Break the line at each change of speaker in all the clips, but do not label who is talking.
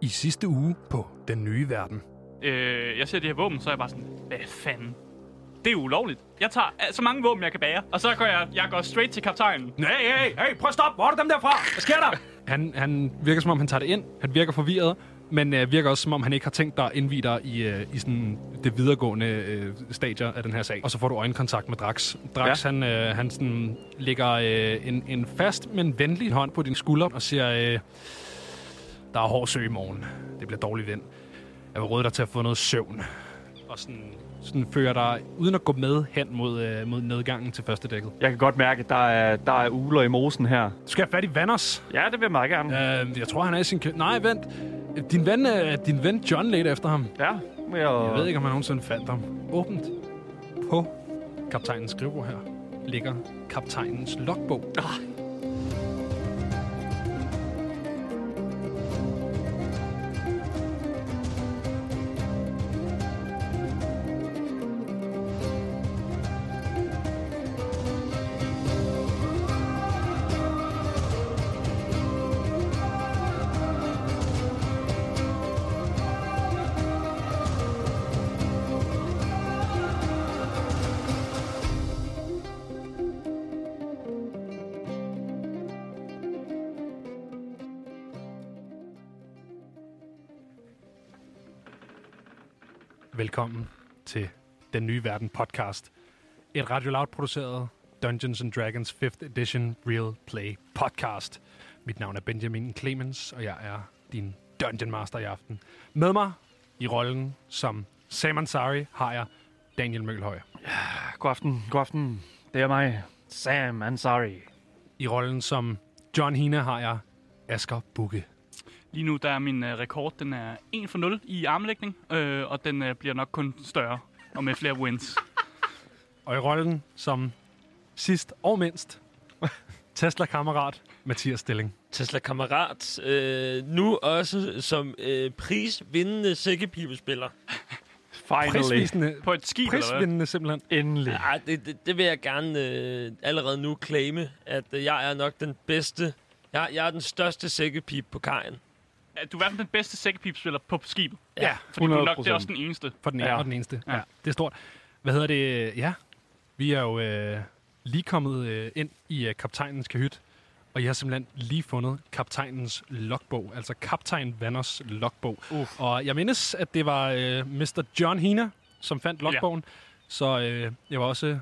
i sidste uge på Den Nye Verden.
Øh, jeg ser det her våben, så er jeg bare sådan, hvad fanden? Det er ulovligt. Jeg tager øh, så mange våben, jeg kan bære. Og så går jeg, jeg går straight til kaptajnen.
Hey, hey, hey, prøv at stoppe. Hvor er det dem derfra? Hvad sker der?
Han, han virker, som om han tager det ind. Han virker forvirret, men øh, virker også, som om han ikke har tænkt dig at indvide dig i, øh, i sådan det videregående øh, stadier af den her sag. Og så får du øjenkontakt med Drax. Drax, ja. han, øh, han sådan lægger øh, en, en fast, men venlig hånd på din skulder og siger, øh, der er hård sø i morgen. Det bliver dårlig vind. Jeg vil råde dig til at få noget søvn. Og sådan, sådan fører dig, uden at gå med, hen mod, øh, mod nedgangen til første dækket.
Jeg kan godt mærke, at der er, der er uler i mosen her.
Du skal have fat i Vanders.
Ja, det vil jeg meget gerne. Ja,
Øh, jeg tror, han er i sin kø... Nej, vent. Din ven, øh, din ven John ledte efter ham.
ja men jeg,
Jeg ved ikke, om han nogensinde fandt ham. Åbent på kaptajnens skrivebord her ligger kaptajnens logbog. Velkommen til Den Nye Verden podcast. Et Radio Loud produceret Dungeons and Dragons 5th Edition Real Play podcast. Mit navn er Benjamin Clemens, og jeg er din Dungeon Master i aften. Med mig i rollen som Sam Ansari har jeg Daniel Møgelhøj.
God aften, god aften. Det er mig, Sam Ansari.
I rollen som John Hina har jeg Asger Bukke.
Lige nu der er min øh, rekord, den er 1 for 0 i armlægning. Øh, og den øh, bliver nok kun større. Og med flere wins.
Og i rollen som sidst og mindst Tesla-kammerat Mathias Stilling.
Tesla Kammerat, øh, nu også som øh, prisvindende sækkepibespiller.
Finally.
Prisvisende,
På et skib, eller hvad?
prisvindende simpelthen.
Endelig.
Ej, det, det, det vil jeg gerne øh, allerede nu claime, at øh, jeg er nok den bedste, jeg, jeg er den største sækkepip på kajen.
Er Du er i hvert fald den bedste sækkepipspiller på skibet.
Ja,
Fordi du er nok
100%.
det er også den eneste.
For den ene
Ja.
ja. og den eneste. Ja.
Ja.
ja, det er stort. Hvad hedder det? Ja, vi er jo øh, lige kommet øh, ind i øh, kaptajnens kahyt, og jeg har simpelthen lige fundet kaptajnens logbog, altså kaptajn Vanners logbog. Uf. Og jeg mindes, at det var øh, Mr. John Hina, som fandt logbogen, ja. så øh, jeg var også øh,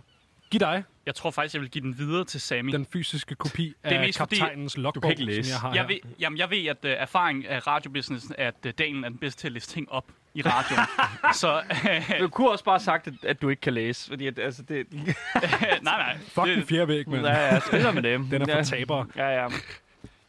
give dig
Jeg tror faktisk, jeg vil give den videre til Sami.
den fysiske kopi
er
af
mest fordi-
kaptajnens logbog,
ikke læse.
som jeg har her.
Jeg ved, jamen, jeg ved, at uh, erfaring af radiobusinessen er, at uh, Daniel er den bedste til at læse ting op i radioen. så uh,
Du kunne også bare have sagt, at, at du ikke kan læse, fordi at, altså, det...
nej, nej.
Fuck den
det,
fjerde væg, mand.
Ja, ja, spiller med dem.
Den er for
ja.
tabere.
Ja, ja.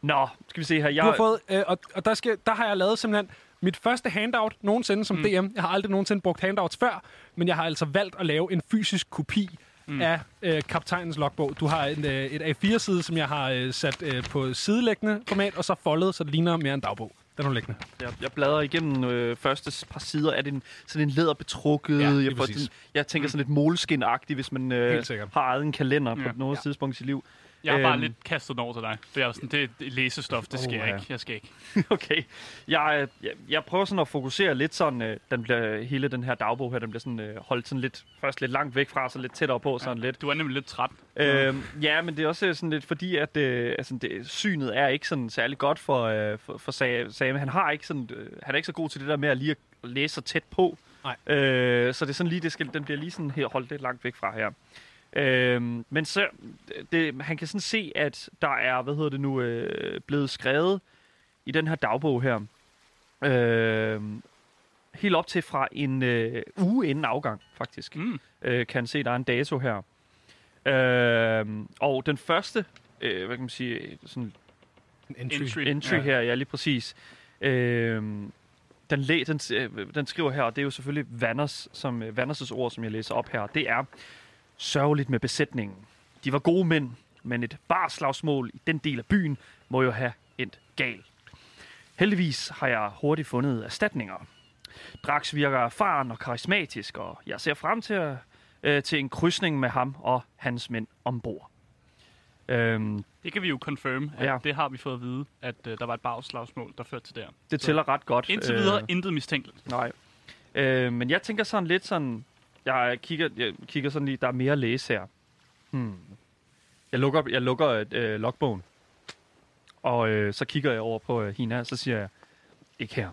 Nå, skal vi se her. Jeg,
Du har fået, øh, og, og der, skal, der har jeg lavet simpelthen mit første handout nogensinde som mm. DM. Jeg har aldrig nogensinde brugt handouts før, men jeg har altså valgt at lave en fysisk kopi mm. af øh, kaptajnens logbog. Du har en, øh, et A4-side, som jeg har øh, sat øh, på sidelæggende format, og så foldet, så det ligner mere en dagbog. Den er du liggende.
jeg, jeg bladrer igennem øh, første s- par sider. Er det en, sådan en læderbetrukket?
Ja, lige
jeg, får
præcis.
sådan, jeg tænker sådan lidt moleskin hvis man øh,
Helt sikkert.
har eget en kalender på
Ja.
noget tidspunkt i sit liv.
jeg har bare
Øhm. Oh,
lidt kastet den over til dig. For jeg var sådan, det er det er læsestof, det sker
ja.
ikke. Jeg skal ikke.
Okay. Jeg, øh, jeg, jeg prøver sådan at fokusere lidt sådan, øh, den bliver, hele den her dagbog her, den bliver sådan, øh, holdt sådan lidt, først lidt langt væk fra, så lidt tættere på, sådan lidt.
Du er nemlig lidt træt.
Øhm, ja, men det er også øh, sådan lidt fordi, at øh, altså, det, synet er ikke sådan særlig godt for, øh, for, for Sa- Sam. Han, har ikke sådan, øh, han er ikke så god til det der med at lige at læse så tæt på.
Nej.
Øh, så det er sådan lige, det skal, den bliver lige sådan her, holdt lidt langt væk fra her. Øhm, men så, det, han kan sådan se, at der er, hvad hedder det nu, øh, blevet skrevet i den her dagbog her. Øh, helt op til fra en øh, uge inden afgang, faktisk
Mm.
øh, kan se, der er en dato her. Øh, og den første, øh, hvad kan man sige, sådan
En entry.
Entry.
entry ja. her, ja lige præcis, øh, den, læ- den, s- øh, den skriver her, og det er jo selvfølgelig Vanders, som, øh, Vanders' ord, som jeg læser op her, det er sørgeligt med besætningen. De var gode mænd, men et barslagsmål i den del af byen må jo have endt galt. Heldigvis har jeg hurtigt fundet erstatninger. Drax virker erfaren og karismatisk, og jeg ser frem til, at, øh, til en krydsning med ham og hans mænd ombord. Øhm,
Det kan vi jo confirm. At ja.
Ja.
Det har vi fået at vide, at uh, der var et bagslagsmål, der førte til der.
det tæller ret godt.
Indtil
øh,
videre, intet mistænkeligt.
Nej. Øh, men jeg tænker sådan lidt sådan... Jeg kigger, jeg kigger sådan lige, der er mere at læse her. Hmm. Jeg lukker, jeg lukker øh, logbogen. Og øh, så kigger jeg over på øh, Hina, og så siger jeg, ikke her.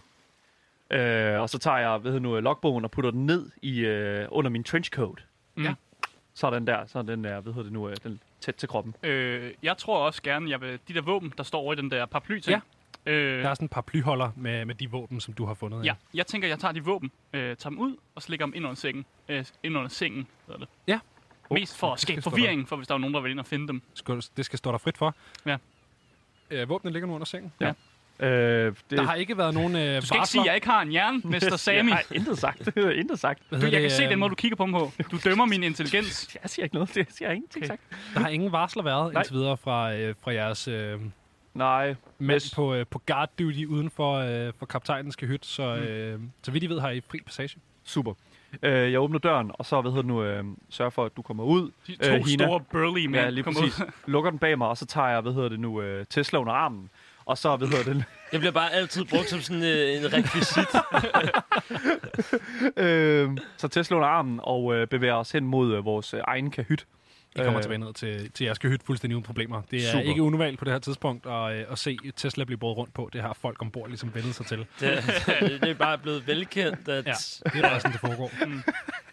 Øh, og så tager jeg, hvad hedder nu, øh, logbogen og putter den ned i, øh, under min trenchcoat.
Mm. Ja.
Så er den der, så er den der, hvad hedder det nu, øh, den tæt til kroppen.
Øh, jeg tror også gerne, jeg vil, de der våben, der står over i den der paraply-ting. Ja. Øh,
Der er sådan et par plyholder med, med de våben, som du har fundet.
ja. Jeg tænker, jeg tager de våben, øh, tager dem ud og slikker dem ind under sengen. Øh, ind under sengen, hedder det. Oh,
Ja.
Mest for at
det skal
skabe
stå der.
forvirring, for hvis der er nogen, der vil ind og finde dem.
Skal, det skal stå dig frit for.
Ja.
Øh, våbnet ligger nu under sengen.
Øh, det,
Der har ikke været nogen øh, varsler.
Du skal ikke sige, at jeg ikke har en hjerne, Mr. Sami.
Jeg har intet sagt. intet sagt.
Hvad
Du,
hedder
jeg kan
det,
se
øh,
den måde, du kigger på mig på. Du dømmer min intelligens.
Jeg siger ikke noget. Jeg siger ingenting
Okay.
okay. sagt.
Der har ingen varsler været
Nej.
indtil videre fra, øh, fra jeres øh,
Nej.
mænd
Yes.
på, øh, på guard duty uden for, øh, for kaptajnens kahyt. Så,
Mm.
øh, så vidt I ved, har I fri passage.
Super. Øh, jeg åbner døren, og så, hvad hedder det nu, øh, sørger for, at du kommer ud.
De
Øh,
to
Hina.
store burly mænd
ja, lige
kommer ud.
præcis. Lukker den bag mig, og så tager jeg, hvad hedder det nu, øh, Tesla under armen. Og så, hvad hedder det,
Jeg bliver bare altid brugt som sådan øh, en rekvisit.
øh, så Tesla under armen og øh, bevæger os hen mod øh, vores øh, egen kahyt.
I kommer
Øh.
tilbage ned til, til jeres kahyt fuldstændig uden problemer. Det er
Super.
ikke unormalt på det her tidspunkt at, øh, at se Tesla blive båret rundt på. Det har folk ombord ligesom vendet sig til.
Det, det, det er bare blevet velkendt, at ja.
Ja,
det
det er bare sådan, det foregår.
Mm.
er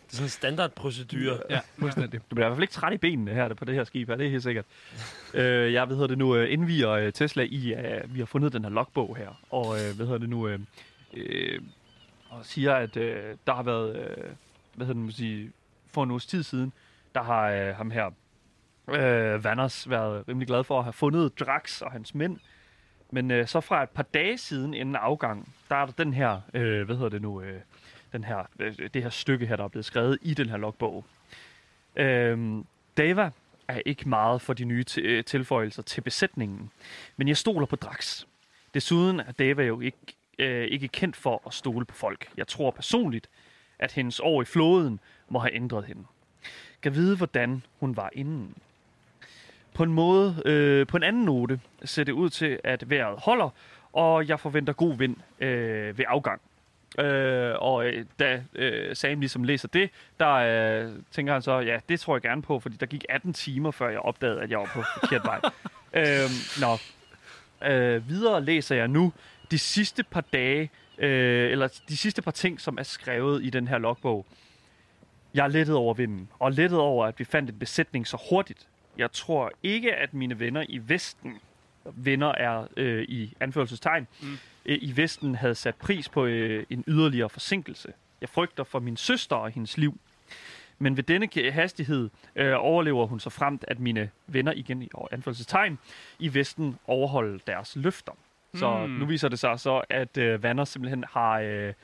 sådan en standardprocedure.
Ja, fuldstændig.
Du bliver i hvert fald ikke træt i benene her på det her skib her, det er helt sikkert. øh, jeg, hvad hedder det nu, øh, indviger øh, Tesla i, at øh, vi har fundet den her logbog her. Og, øh, hvad hedder det nu, øh, øh, og siger, at øh, der har været, øh, hvad hedder det, nu, sige, for en uges tid siden, der har øh, ham her, øh, Vanders, været rimelig glad for at have fundet Drax og hans mænd. Men øh, så fra et par dage siden inden afgang, der er der den her, øh, hvad hedder det nu, øh, den her, øh, det her stykke her, der er blevet skrevet i den her logbog. Øhm, Dava er ikke meget for de nye t- øh, tilføjelser til besætningen, men jeg stoler på Drax. Desuden er Dava jo ikke, øh, ikke kendt for at stole på folk. Jeg tror personligt, at hendes år i floden må have ændret hende. Kan vide, hvordan hun var inden. På en måde, øh, på en anden note, ser det ud til, at vejret holder, og jeg forventer god vind øh, ved afgang. Øh, og øh, da øh, Sam ligesom læser det, der øh, tænker han så, ja, det tror jeg gerne på, fordi der gik 18 timer, før jeg opdagede, at jeg var på forkert vej. øh, nå. Øh, videre læser jeg nu de sidste par dage, øh, eller de sidste par ting, som er skrevet i den her logbog. Jeg er lettet over vinden, og lettet over, at vi fandt en besætning så hurtigt. Jeg tror ikke, at mine venner i Vesten, venner er øh, i anførselstegn,
Mm.
øh, i Vesten havde sat pris på øh, en yderligere forsinkelse. Jeg frygter for min søster og hendes liv. Men ved denne ke- hastighed øh, overlever hun så fremt, at mine venner igen i og anførselstegn i Vesten overholder deres løfter. Så
Hmm.
nu viser det sig så, at øh, Vanner simpelthen har... Øh,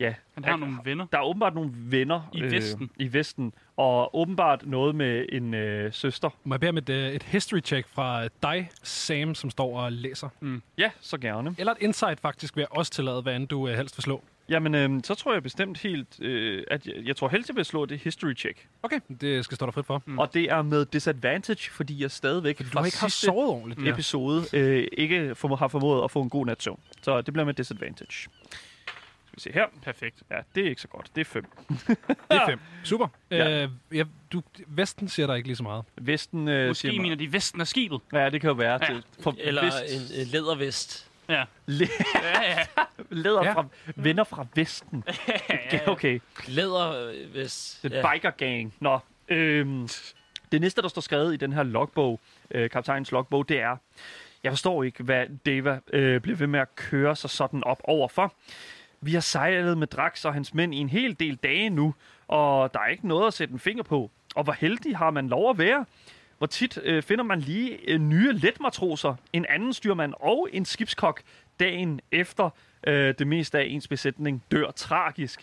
ja, Øh,
Han har nogle venner.
der er åbenbart nogle venner
I Vesten.
Øh, I Vesten. Og åbenbart noget med en øh, søster.
Må jeg bede om et, øh, et history check fra øh, dig, Sam, som står og læser?
Ja, så gerne.
Eller et insight faktisk, vil jeg også tillade, hvad end du øh, helst vil slå.
Jamen, øh, så tror jeg bestemt helt, øh, at jeg, jeg tror helst, jeg vil slå det history check.
Okay, det skal stå dig frit for.
Mm. Og det er med disadvantage, fordi jeg stadigvæk
Du har ikke haft sovet ordentligt.
ja. episode øh, ikke for, har formået at få en god nats søvn. Så det bliver med disadvantage. Skal vi se her.
Perfekt.
Ja, det er ikke så godt. Det er 5.
Det er fem. Super.
Ja.
Ja. Øh, ja, du, Vesten siger dig ikke lige så meget.
Vesten øh,
Måske
siger mig-
mener de vesten af skibet.
Ja, det kan jo være.
Ja.
Ja. Til, for
Eller en,
vest,
en lædervest.
Ja.
le-
Ja, ja.
leder
Ja.
ja. fra, venner fra Vesten. Ja, okay.
Lædervest.
Den ja. biker gang. Nå, øhm, det næste, der står skrevet i den her logbog, øh, kaptajnens logbog, det er, jeg forstår ikke, hvad Deva øh, blev ved med at køre sig sådan op overfor. Vi har sejlet med Drax og hans mænd i en hel del dage nu, og der er ikke noget at sætte en finger på. Og hvor heldig har man lov at være? Hvor tit øh, finder man lige øh, nye letmatroser, en anden styrmand og en skibskok dagen efter øh, det meste af ens besætning dør tragisk.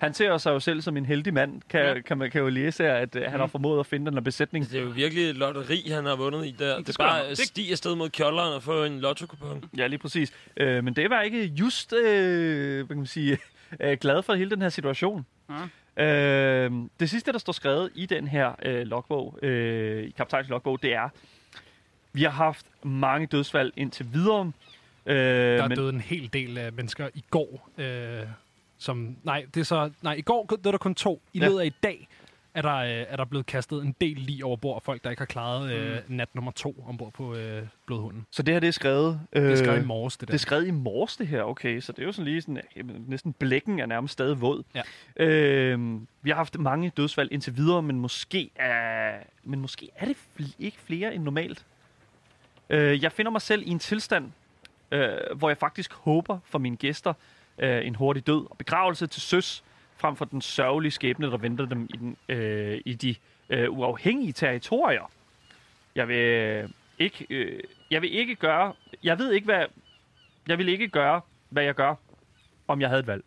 Han ser sig jo selv som en heldig mand, kan,
Ja.
ja. kan man kan jo læse her, at øh, han har formået at finde den her besætning.
Det er jo virkelig et lotteri, han har vundet i der. Det, det er
skal
bare
han.
at
Det-
stige afsted mod kjolderen og få en lotto-kupon.
Ja, lige præcis. Øh, men det var ikke just, øh, hvad kan man sige, øh, glad for hele den her situation. Øh, det sidste, der står skrevet i den her øh, logbog, øh, i kaptajns logbog, det er, Vi har haft mange dødsfald indtil videre. Øh,
Der
men-
men... døde en hel del af mennesker i går. Øh, som, nej, det er så, nej, i går døde der kun to. I
Ja.
løbet af i dag er der, øh, er der blevet kastet en del lige over bord af folk, der ikke har klaret øh,
Mm.
nat nummer to ombord på øh, blodhunden.
Så det her, det er skrevet... Øh,
Det er skrevet i morges, det der.
Det er skrevet i morges, det her, okay. Så det er jo sådan lige sådan, jamen, næsten blækken er nærmest stadig våd.
Ja.
Øhm, vi har haft mange dødsfald indtil videre, men måske er, men måske er det fl- ikke flere end normalt. Øh, jeg finder mig selv i en tilstand, øh, hvor jeg faktisk håber for mine gæster øh, en hurtig død og begravelse til søs, frem for den sørgelige skæbne, der venter dem i, den, øh, i de øh, uafhængige territorier. Jeg vil øh, ikke, øh, jeg vil ikke gøre, jeg ved ikke, hvad, jeg ville ikke gøre, hvad jeg gør, om jeg havde et valg.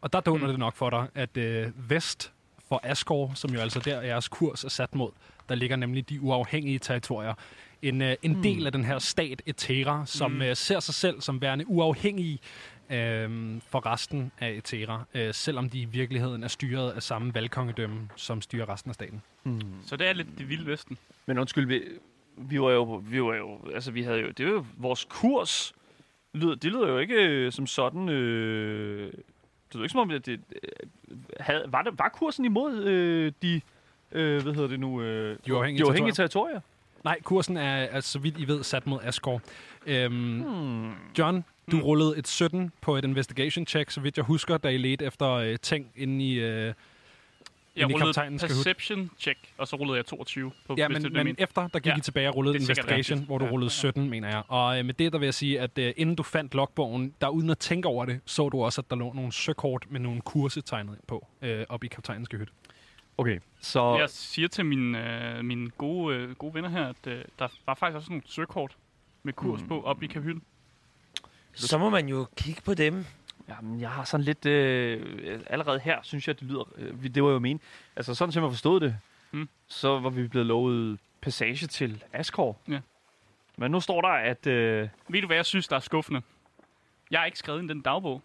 Og der dunder det nok for dig, at øh, vest for Asgård, som jo altså der jeres kurs er sat mod, der ligger nemlig de uafhængige territorier. En, øh, en del af den her stat Etera, som øh, ser sig selv som værende uafhængige øh, for resten af Etera, øh, selvom de i virkeligheden er styret af samme valgkongedømme, som styrer resten af staten.
Mm.
Så det er lidt det vilde vesten.
Men undskyld, vi, vi var jo, vi var jo, altså vi havde jo, det var jo vores kurs. Lyder, det lyder jo ikke øh, som sådan, øh, det lyder ikke som om, at det, øh, havde, var, det, var kursen imod øh, de, øh, hvad hedder det nu, øh,
De uafhængige
de uafhængige territorier?
Nej, kursen er, er, så vidt I ved, sat mod Asgård. Øhm, hmm. John, du hmm. rullede et 17 på et investigation check, så vidt jeg husker, da I ledte efter øh, ting inde i... Øh,
Jeg
Ind i
rullede
kaptajnens kahyt.
perception check, og så rullede jeg 22 på,
Ja,
hvis det
men,
er
men
det, men...
efter, der gik
Ja,
I tilbage og rullede
det er sikkert
investigation,
rigtigt.
hvor du
Ja,
rullede 17, mener jeg. Og øh, med det, der vil jeg sige, at øh, inden du fandt logbogen, der uden at tænke over det, så du også, at der lå nogle søkort med nogle kurse tegnet ind på, øh, op i kaptajnens hytte.
Okay, så...
Jeg siger til mine, øh, mine gode, øh, gode venner her, at øh, der var faktisk også nogle søkort med kurs mm. på op i kahytten.
Så må man jo kigge på dem.
Jamen, jeg har sådan lidt... Øh, allerede her, synes jeg, det lyder... Øh, vi- det var jo min. Altså, sådan som jeg forstod det,
Mm.
mm. så var vi blevet lovet passage til Asgård.
Ja.
Men nu står der, at... Øh,
Ved du, hvad jeg synes, der er skuffende? Jeg har ikke skrevet ind i den dagbog.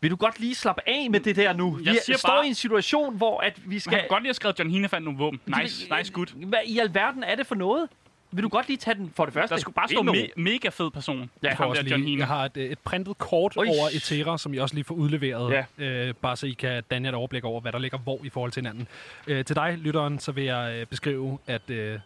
vil du godt lige slappe af med det der nu?
Jeg
vi
siger
står
bare-
i en situation, hvor at vi
Skal...
skal... øh,
Jeg godt lige have skrevet, at John Hine fandt nogle våben. Nice, nice, good.
Hvad i alverden er det for noget? Vil du godt lige tage den for det første?
Der skulle bare stå me- mega fed person. Ja,
Jeg, har
ham der
også
John
lige,
Hine.
jeg har et, øh, et printet kort
Oj.
Oish. over Etera, som I også lige får udleveret,
Ja.
ja. øh, bare så I kan danne et overblik over, hvad der ligger hvor i forhold til hinanden. Øh, til dig, lytteren, så vil jeg øh, beskrive, at øh,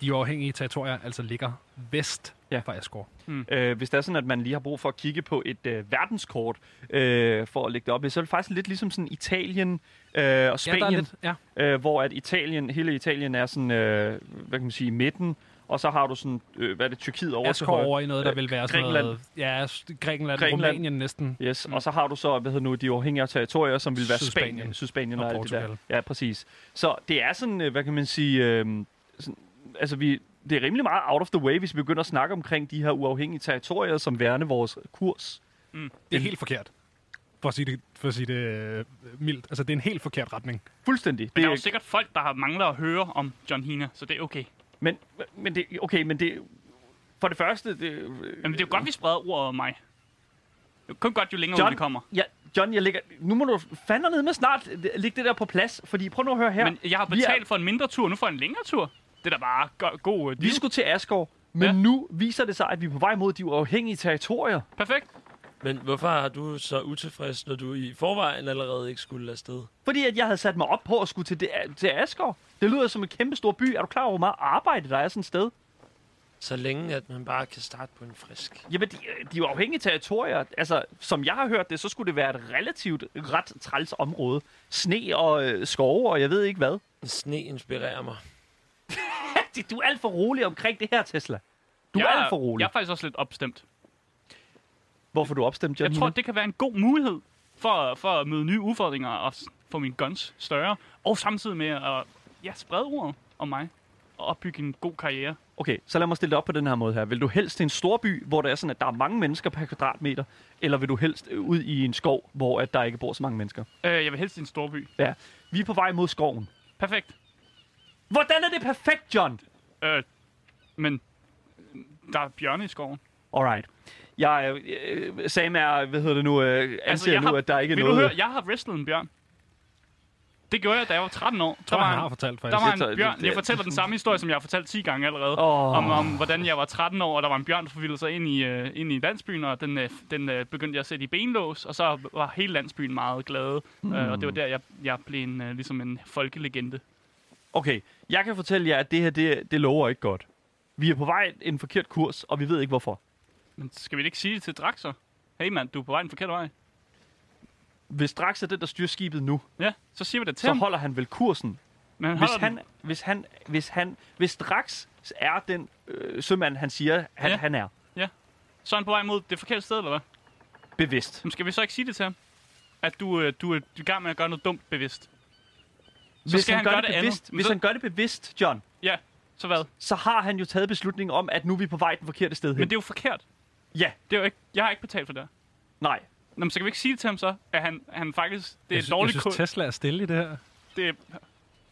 de uafhængige territorier altså ligger vest
Ja.
ja. for Asgård.
Øh, hvis det er sådan, at man lige har brug for at kigge på et øh, verdenskort øh, for at lægge det op, så er det faktisk lidt ligesom sådan Italien øh, og Spanien.
Ja, der er lidt, ja.
øh, hvor at Italien, hele Italien er sådan, øh, hvad kan man sige, i midten, og så har du sådan, øh, hvad er det, Tyrkiet over til
Asgård
højre.
over i noget, der vil være sådan
Grækenland.
noget... Ja, s- Grækenland,
Grækenland.
Grækenland. Rumænien næsten.
Yes, og så har du så, hvad hedder nu, de uafhængige territorier, som vil være
Sydspanien.
Spanien, Sydspanien og,
Og
og alt det der.
Portugal.
Ja, præcis. Så det er sådan, øh, hvad kan man sige, øh, sådan, altså vi, det er rimelig meget out of the way, hvis vi begynder at snakke omkring de her uafhængige territorier, som værende vores kurs.
Det er helt forkert. For at sige det, for at sige det øh, mildt. Altså, det er en helt forkert retning.
Fuldstændig.
Men
det
der er jo sikkert folk, der har mangler at høre om John Hina, så det er okay.
men, men det, okay, men det, for det første, det,
Men det er jo godt, vi spreder ordet om mig. Det er kun godt, jo længere ud
Øh, John,
det kommer.
Ja, John, jeg lægger... Nu må du fandme ned med snart øh, lægge det der på plads, fordi prøv nu at høre her.
Men øh, jeg har
Vi er-
betalt for en mindre tur, nu får jeg en længere tur. Det er da bare go- god uh,
Vi
deal.
skulle til Asgård, men
Ja.
ja. nu viser det sig, at vi er på vej mod de uafhængige territorier.
Perfekt.
Men hvorfor har du så utilfreds, når du i forvejen allerede ikke skulle afsted?
Fordi at jeg havde sat mig op på at skulle til, det, til Asgård. Det lyder som en kæmpe stor by. Er du klar over, hvor meget arbejde der er sådan et sted?
Så længe, at man bare kan starte på en frisk.
Jamen, de, øh, de uafhængige territorier, altså, som jeg har hørt det, så skulle det være et relativt ret træls område. Sne og øh, skove, og jeg ved ikke hvad.
Sne inspirerer mig.
Du er alt for rolig omkring det her, Tesla. Du er
jeg,
alt for rolig.
Jeg er faktisk også lidt opstemt.
Hvorfor er du opstemt, John?
Jeg tror, det kan være en god mulighed for, for at møde nye udfordringer og s- få mine guns større. Og samtidig med at ja, sprede ordet om mig og opbygge en god karriere.
Okay, så lad mig stille det op på den her måde her. Vil du helst til en storby, hvor der er sådan, at der er mange mennesker per kvadratmeter, eller vil du helst øh, ud i en skov, hvor at der ikke bor så mange mennesker?
Øh, jeg vil helst i en storby.
Ja, vi er på vej mod skoven.
Perfekt.
Hvordan er det perfekt, John?
Øh, men øh, der er bjørne i skoven.
Alright. Jeg, øh, øh, Sam er, hvad hedder det nu, øh, anser altså, nu, at der ikke
Altså,
er
vil
noget...
Du høre, jeg har wrestlet en bjørn. Det gjorde jeg, da jeg var 13 år.
tror,
der var
han har
en,
fortalt,
der
faktisk.
var
Det- det-
en bjørn.
det-
Jeg fortæller den samme historie, som jeg har fortalt 10 gange allerede.
Åh.
Om, om hvordan jeg var 13 år, og der var en bjørn, der forvildede sig ind i, øh, ind i landsbyen, og den, øh, den øh, begyndte jeg at sætte i benlås, og så var hele landsbyen meget glade. Mm. Øh, og det var der, jeg, jeg blev en, øh, ligesom en folkelegende.
Okay, jeg kan fortælle jer, at det her, det, det lover ikke godt. Vi er på vej en forkert kurs, og vi ved ikke hvorfor.
Men skal vi ikke sige det til Draxer? Hey mand, du er på vej den forkerte vej.
Hvis Drax er den, der styrer skibet nu,
Ja, så siger vi det til
så
ham.
holder han vel kursen.
Men han
Hvis
holder den.
han, hvis han, hvis han, hvis Drax er den øh, sømand, han siger, han,
Ja.
ja. han er,
Så er han på vej mod det forkerte sted, eller hvad?
bevidst.
Men skal vi så ikke sige det til ham? At du, øh, du er du er i gang med at gøre noget dumt bevidst. Så
Hvis
skal han
han, gør
gøre
det
det andet.
bevidst,
Men
hvis
så-
han gør det bevidst, John,
Ja, så hvad?
så har han jo taget beslutningen om, at nu er vi på vej den forkerte sted hen.
Men det er jo forkert.
Ja,
Det er jo ikke, jeg har ikke betalt for det. her.
nej.
Nå, men så kan vi ikke sige det til ham så, at han, han faktisk... Det
Jeg
er
sy-
et dårligt
Jeg
kund.
synes, Tesla er stille i det her.
Det er,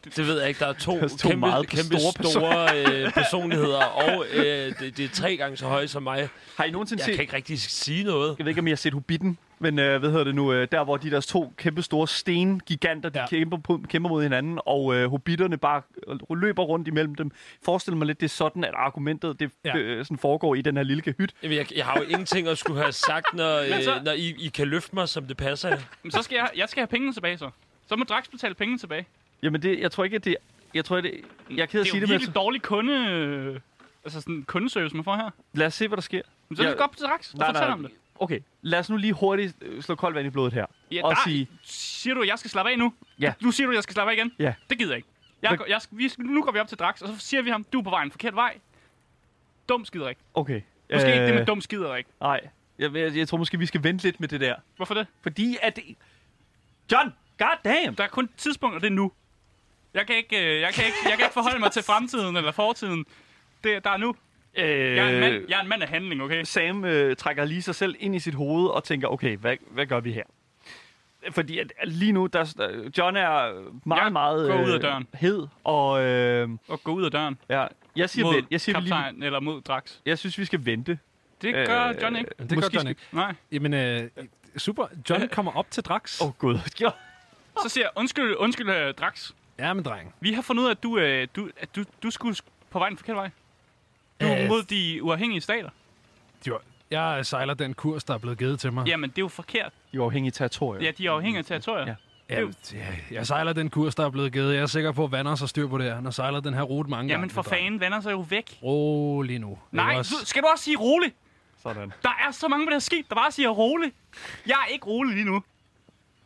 Det ved jeg ikke. Der er to,
er
to
to
kæmpe,
meget
kæmpe
store
store, store øh, personligheder, og øh, det, det er tre gange så høje som mig.
Har I nogensinde
Jeg
set...
kan ikke rigtig sige noget.
Jeg ved ikke, om I har set Hobbiten, men øh, hvad hedder det nu? Øh, der, hvor de der to kæmpe store stengiganter, de
Ja.
ja. kæmper, på, kæmper mod hinanden, og øh, Hobbitterne bare øh, løber rundt imellem dem. Forestil mig lidt, det er sådan, at argumentet det,
Ja.
ja. øh, sådan foregår i den her lille kahyt.
Jamen, jeg, jeg har jo ingenting at skulle have sagt, når,
Men så-
øh, når I, I kan løfte mig, som det passer. jer.
men så skal jeg, jeg skal have pengene tilbage så. Så må Drax betale pengene tilbage.
Jamen, det, jeg tror ikke, at det... Jeg tror, at det... Jeg er ked af
Det
at
er jo
sige det,
virkelig
men
det, dårlig kunde... øh, Altså sådan en kundeservice, man får her.
jeg- lad os se, hvad der sker.
Men så er
Ja.
det godt til Drax og
Nej,
fortælle
nej.
ham det.
Okay, lad os nu lige hurtigt øh, slå koldt vand i blodet her.
Ja,
og
der-
sige,
Siger du, at jeg skal slappe af nu?
Ja.
Nu siger du, at jeg skal slappe af igen?
Ja.
Det gider jeg ikke. Jeg, går- jeg, skal- vi, skal- nu går vi op til Drax, og så siger vi ham, du er på vej en forkert vej. Dum skider ikke.
okay...
Måske øh... ikke det med
øh,
dum skider ikke.
Nej, jeg, jeg, jeg tror måske, vi skal vente lidt med det der.
Hvorfor det?
Fordi at... det- John, goddamn!
Der er kun et tidspunkt, og det er nu. Jeg kan ikke, øh, jeg kan ikke, jeg kan ikke forholde mig til fremtiden eller fortiden. Det, der er nu. Jeg
Øh,
er, en mand, jeg er en mand af handling, okay?
Sam øh, trækker lige sig selv ind i sit hoved og tænker, okay, hvad, hvad gør vi her? Fordi at, at lige nu, der, der- John er meget,
Jeg
meget øh,
går ud af døren.
hed, og øh,
Og gå ud af døren
ja, jeg siger,
mod
vent, jeg, siger vi lige,
kaptajn eller mod Drax.
jeg synes, vi skal vente.
Det
Øh,
gør John ikke.
Men det gør
Måske
John ikke.
Nej.
Jamen, øh, super. John kommer op til Drax.
Åh oh, gud, John.
Så siger jeg, undskyld, undskyld øh, Drax.
Ja, men dreng.
Vi har fundet ud af, at du, øh, du, at du, du skulle sk- på vej den forkerte vej. Du er
Øh.
mod de uafhængige stater.
Jo, Jeg sejler den kurs, der er blevet givet til mig.
Jamen, det er jo forkert.
De er afhængige territorier.
Ja, de er afhængige af territorier.
Ja.
Jamen, ja, jeg sejler den kurs, der er blevet givet. Jeg er sikker på, at Vanders har styr på det her. Han har sejlet den her rute mange gange.
Jamen, for
dreng.
fanden, vander sig jo væk.
Rolig nu.
Nej,
Ikke
du,
også?
skal du også sige rolig?
Sådan.
Der er så mange på det her skib, der bare siger rolig. Jeg er ikke rolig lige nu.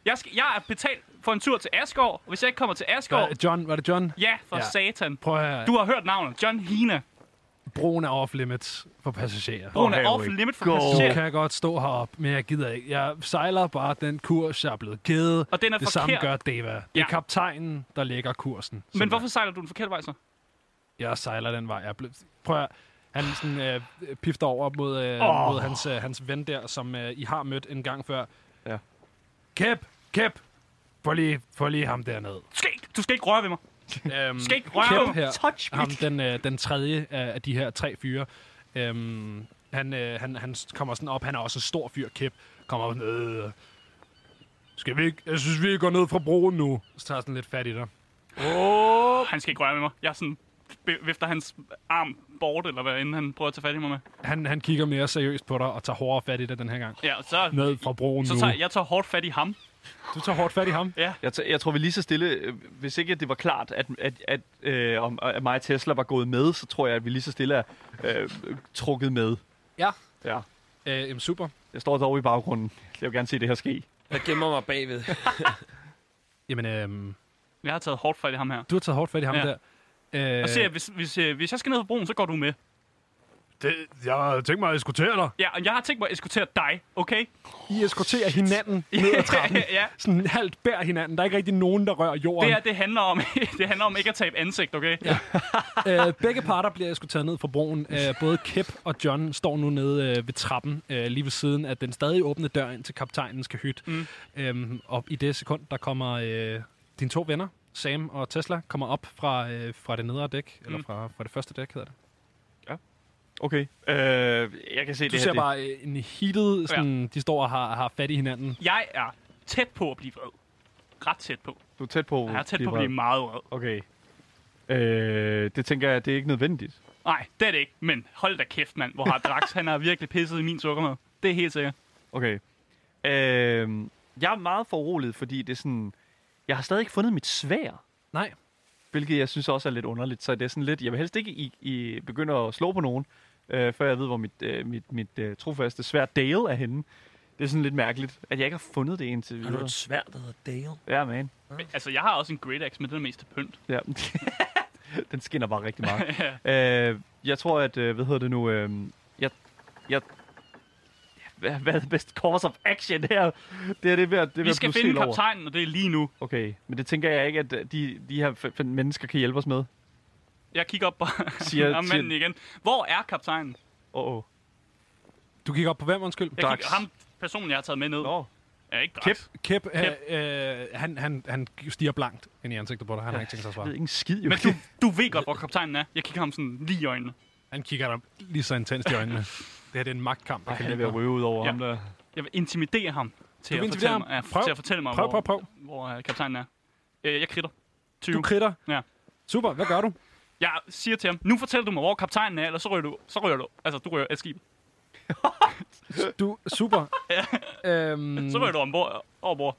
Jeg, skal, jeg er betalt for en tur til Asgård, og hvis jeg ikke kommer til Asgård...
Hva- John, var det John?
Ja, for
Ja.
ja. satan.
Prøv at høre.
Du har hørt navnet. John Hina.
Broen er off-limits for passagerer.
Hun
Åh,
er
her
off
we
limit for
go.
Du
passagerer.
kan godt stå heroppe, men jeg gider ikke. Jeg sejler bare den kurs, jeg er blevet givet.
Og den er
det samme
forkert.
gør Deva. Det er
Ja.
kaptajnen, der lægger kursen.
Men
Sådan
hvorfor sejler du den forkerte vej så?
jeg sejler den vej. Jeg er blevet... Prøv at han sådan, øh, pifter over mod, øh, oh. mod hans, øh, hans ven der, som øh, I har mødt en gang før.
Ja.
Kæp, kæp. Få lige, få lige ham derned.
Du skal ikke, du skal ikke røre ved mig.
Øhm,
skal ikke røre mig.
her.
Touch me.
Ham, den, øh, den tredje af, af de her tre fyre. Øhm, han, øh, han, han kommer sådan op. Han er også en stor fyr, Kæp. Kommer op sådan, øh, skal vi ikke? Jeg synes, vi går ned fra broen nu. Så tager jeg sådan lidt fat i dig.
Oh. Han skal ikke røre ved mig. Jeg er sådan be- vifter hans arm bort, eller hvad, inden han prøver at tage fat i mig med.
Han, han kigger mere seriøst på dig og tager hårdere fat i dig den her gang.
Ja, og så,
Ned fra broen
så
nu.
tager jeg tager hårdt fat i ham.
Du tager hårdt fat i ham.
Jeg, t- jeg tror, vi lige så stille, øh, hvis ikke det var klart, at, at, at, øh, om, at mig og Tesla var gået med, så tror jeg, at vi lige så stille er øh, trukket med.
Ja.
Ja.
Øh, jamen, super.
Jeg står derovre i baggrunden. Jeg vil gerne se det her ske.
Jeg gemmer mig bagved.
Jamen, øh,
Jeg har taget hårdt fat i ham her.
du har taget hårdt fat i ham
Ja.
der. Øh,
Og så siger jeg, hvis, hvis, øh, hvis jeg skal ned på broen, så går du med.
det, jeg tænkte mig at eskortere dig.
Ja, og jeg har tænkt mig at eskortere dig, okay?
I eskorterer hinanden ned ad trappen.
ja.
Sådan halvt bær hinanden. Der er ikke rigtig nogen, der rører jorden.
Det her, det handler om, det handler om ikke at tabe ansigt, okay? Ja.
øh, begge parter bliver eskorteret ned fra broen. Øh, både Kip og John står nu nede øh, ved trappen, øh, lige ved siden af den stadig åbne dør ind til kaptajnens kahyt. Mm. Øhm, og i det sekund, der kommer øh, dine to venner, Sam og Tesla, kommer op fra, øh, fra det nedre dæk, eller
Mm.
fra, fra det første dæk, hedder det.
Okay. Øh, jeg kan se
Du
det her.
ser
det-
bare øh, en heated, sådan, ja. de står og har, har fat i hinanden.
Jeg er tæt på at blive vred. ret tæt på.
Du er tæt på.
Jeg er tæt
det
på at blive meget vred.
Okay. Øh, det tænker jeg, det er ikke nødvendigt.
Nej, det er det ikke. Men hold da kæft, mand. Hvor har Drax, han har virkelig pisset i min sukkermad. Det er helt sikkert.
Okay.
Øh, jeg er meget foruroliget, fordi det er sådan... Jeg har stadig ikke fundet mit svær,
Nej.
hvilket jeg synes også er lidt underligt. Så det er sådan lidt... Jeg vil helst ikke i, i begynde at slå på nogen, øh, før jeg ved, hvor mit, øh, mit, mit øh, trofaste svær Dale er henne. Det er sådan lidt mærkeligt, at jeg ikke har fundet det indtil
Har du
videre.
et svært, der hedder Dale?
Ja, man.
Men, altså, jeg har også en Great Axe, men den er mest til pynt.
Ja. Den skinner bare rigtig meget. øh, jeg tror, at... Øh, hvad hedder det nu? Øh, jeg, jeg, hvad, hvad er det bedste course of action her?
Det er det er ved at, det er ved
Vi
at
skal
blive
finde
set over.
kaptajnen, og det er lige nu.
Okay, men det tænker jeg ikke, at øh, de, de her f- f- mennesker kan hjælpe os med.
Jeg kigger op på
Siger-
ham manden igen. Hvor er kaptajnen?
Åh, oh, oh.
Du kigger op på hvem, undskyld?
Jeg kigger, ham personen, jeg har taget med ned.
Nå.
Ja, ikke Drax.
Kip. Kip, øh, øh, han, han, han stiger blankt ind i ansigtet på dig. Han har ikke tænkt sig at
Jeg ved
svare.
ikke en skid, jo.
Men du, du ved godt, hvor kaptajnen er. Jeg kigger ham sådan lige i øjnene.
Han kigger dig lige så intenst i øjnene. Det her det er en magtkamp, der
han
kan
er
lide
ved at
dig.
ryge ud over
Ja.
ja. ham der.
Jeg vil intimidere ham til,
Du vil intimidere
at fortælle,
ham?
mig, ja,
Prøv.
til at fortælle mig,
Prøv,
hvor,
prøv, prøv.
hvor øh, kaptajnen er. Øh, jeg kritter. 20.
Du kritter.
Ja.
Super, hvad gør du?
Jeg siger til ham, nu fortæller du mig, hvor kaptajnen er, eller så rører du, så rører du, altså du rører et skib.
Du, super. øhm,
Så rører du ombord, overbord.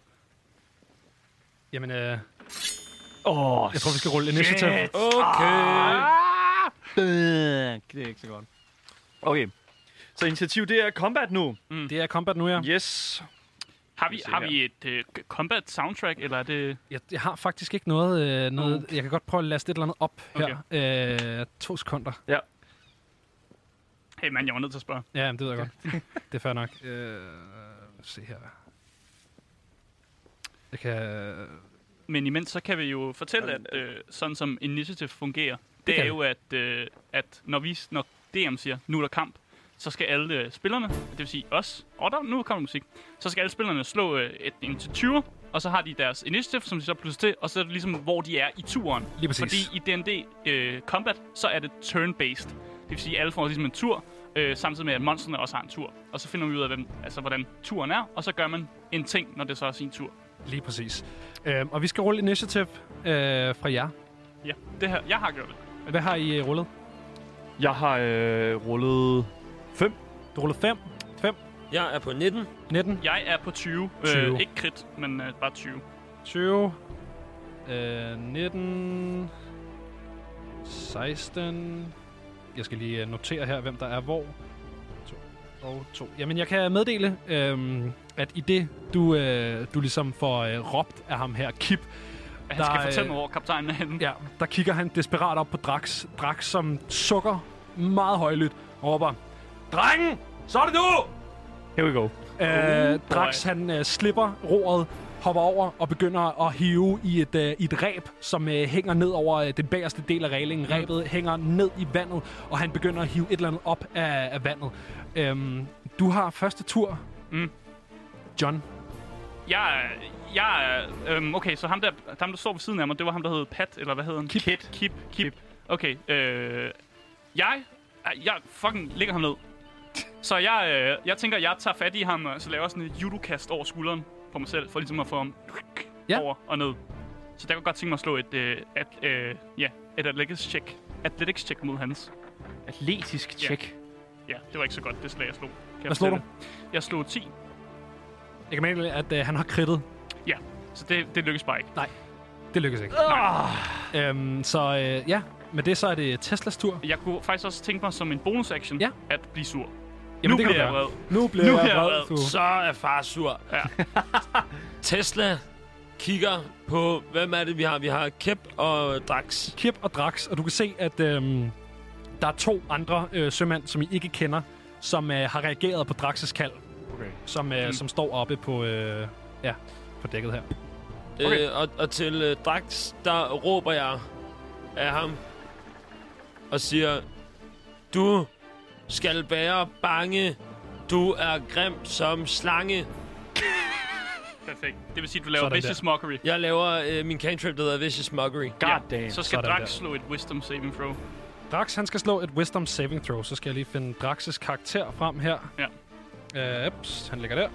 Jamen, øh,
Åh, oh,
jeg tror, vi skal rulle initiativ.
Ah!
Det er ikke så godt.
Okay. Så initiativ, det er combat nu.
Det er combat nu, ja.
Yes.
Har vi,
se
har
her.
vi et øh, k- combat soundtrack, eller er det...
Jeg, jeg har faktisk ikke noget... Øh, noget Jeg kan godt prøve at laste et eller andet op
Okay.
her. Øh, to sekunder.
Hey mand, jeg var nødt til at spørge.
Ja, jamen, det ved jeg godt. det er fair nok. Øh, se her. Jeg kan...
Men imens, så kan vi jo fortælle, at øh, sådan som Initiative fungerer, det, det
kan
er
vi.
jo, at, øh, at når, vi, når DM siger, nu er der kamp, så skal alle øh, spillerne, det vil sige os, og der, nu kommer musik, så skal alle spillerne slå øh, et, en til 20, og så har de deres initiative, som de så pludselig til, og så er det ligesom, hvor de er i turen.
Lige præcis.
Fordi i D&D øh, Combat, så er det turn-based. Det vil sige, at alle får ligesom en tur, øh, samtidig med, at monsterne også har en tur. Og så finder vi ud af, hvem, altså, hvordan turen er, og så gør man en ting, når det så er sin tur.
Lige præcis. Øh, og vi skal rulle initiativ øh, fra jer.
Ja, det her, jeg har gjort det.
Hvad har I øh, rullet?
Jeg har øh, rullet...
Du rullede 5,
Jeg er på 19.
19,
Jeg er på 20. 20.
20.
Øh, ikke krit, men øh, bare 20.
20, øh, 19, 16. Jeg skal lige øh, notere her, hvem der er hvor. To og to. Jamen, jeg kan meddele, øhm, at i det, du, øh, du ligesom får øh, råbt af ham her, Kip,
Han skal
Der er,
fortælle
øh,
mig, hvor kaptajnen er henne.
ja, der kigger han desperat op på Drax. Drax, som sukker meget højlydt, og råber, Drenge, så er det nu!
Here we go.
Øh, Drax
Oh, boy.
han øh, slipper roret, hopper over og begynder at hive i et, øh, i et ræb, som øh, hænger ned over øh, den bagerste del af
Mhm.
reglingen. Ræbet hænger ned i vandet, og han begynder at hive et eller andet op af, af vandet. Øhm, du har første tur.
Mm.
John.
Jeg, er- jeg, er- øhm, okay, så ham der, ham der står ved siden af mig, det var ham, der hed Pat, eller hvad hed han? Kip. Kip. Kip. Kip. Okay, øh, jeg, ej, jeg fucking lægger ham ned. Så jeg, øh, jeg tænker, jeg tager fat i ham, og så laver jeg sådan et judokast over skulderen på mig selv, for ligesom at få ham
Ja.
ja. over og ned. Så der kunne jeg godt tænke mig at slå et, øh, at, øh, ja, et athletics check, athletics check mod hans.
Atletisk
Ja.
check.
Ja, det var ikke så godt, det slag, jeg slog. Kan jeg
Hvad slog
fortælle. Jeg slog 10.
Jeg kan mene, at øh, han har kridtet.
Ja, så det, det lykkes bare ikke.
Det lykkes ikke.
Ah.
Øhm, så øh, ja, med det så er det Teslas tur.
Jeg kunne faktisk også tænke mig som en bonus action
Ja.
at blive sur.
Jamen,
nu
det kan
bliver jeg
du gøre.
vred.
Nu bliver
Nu
jeg
bliver jeg
vred. du.
vred.
Så er far sur.
Ja.
Tesla kigger på, hvem er det, vi har? Vi har Kep og Drax.
Kip og Drax, og du kan se, at øhm, der er to andre øh, sømænd, som I ikke kender, som øh, har reageret på Draxes kald,
Okay.
som, øh, mm. som står oppe på, øh, ja, på dækket her.
Okay. Øh, og, og til øh, Drax, der råber jeg af ham og siger, du skal være bange. Du er grim som slange.
Perfekt. Det vil sige, at du laver
Sådan
vicious mockery.
Jeg laver øh, min cantrip, der hedder Vicious Mockery.
God damn.
Så skal
Sådan
Drax
der.
slå et wisdom saving throw.
Drax, han skal slå et Wisdom Saving Throw, så skal jeg lige finde Draxes karakter frem her.
Ja.
Øh, ups, han ligger der.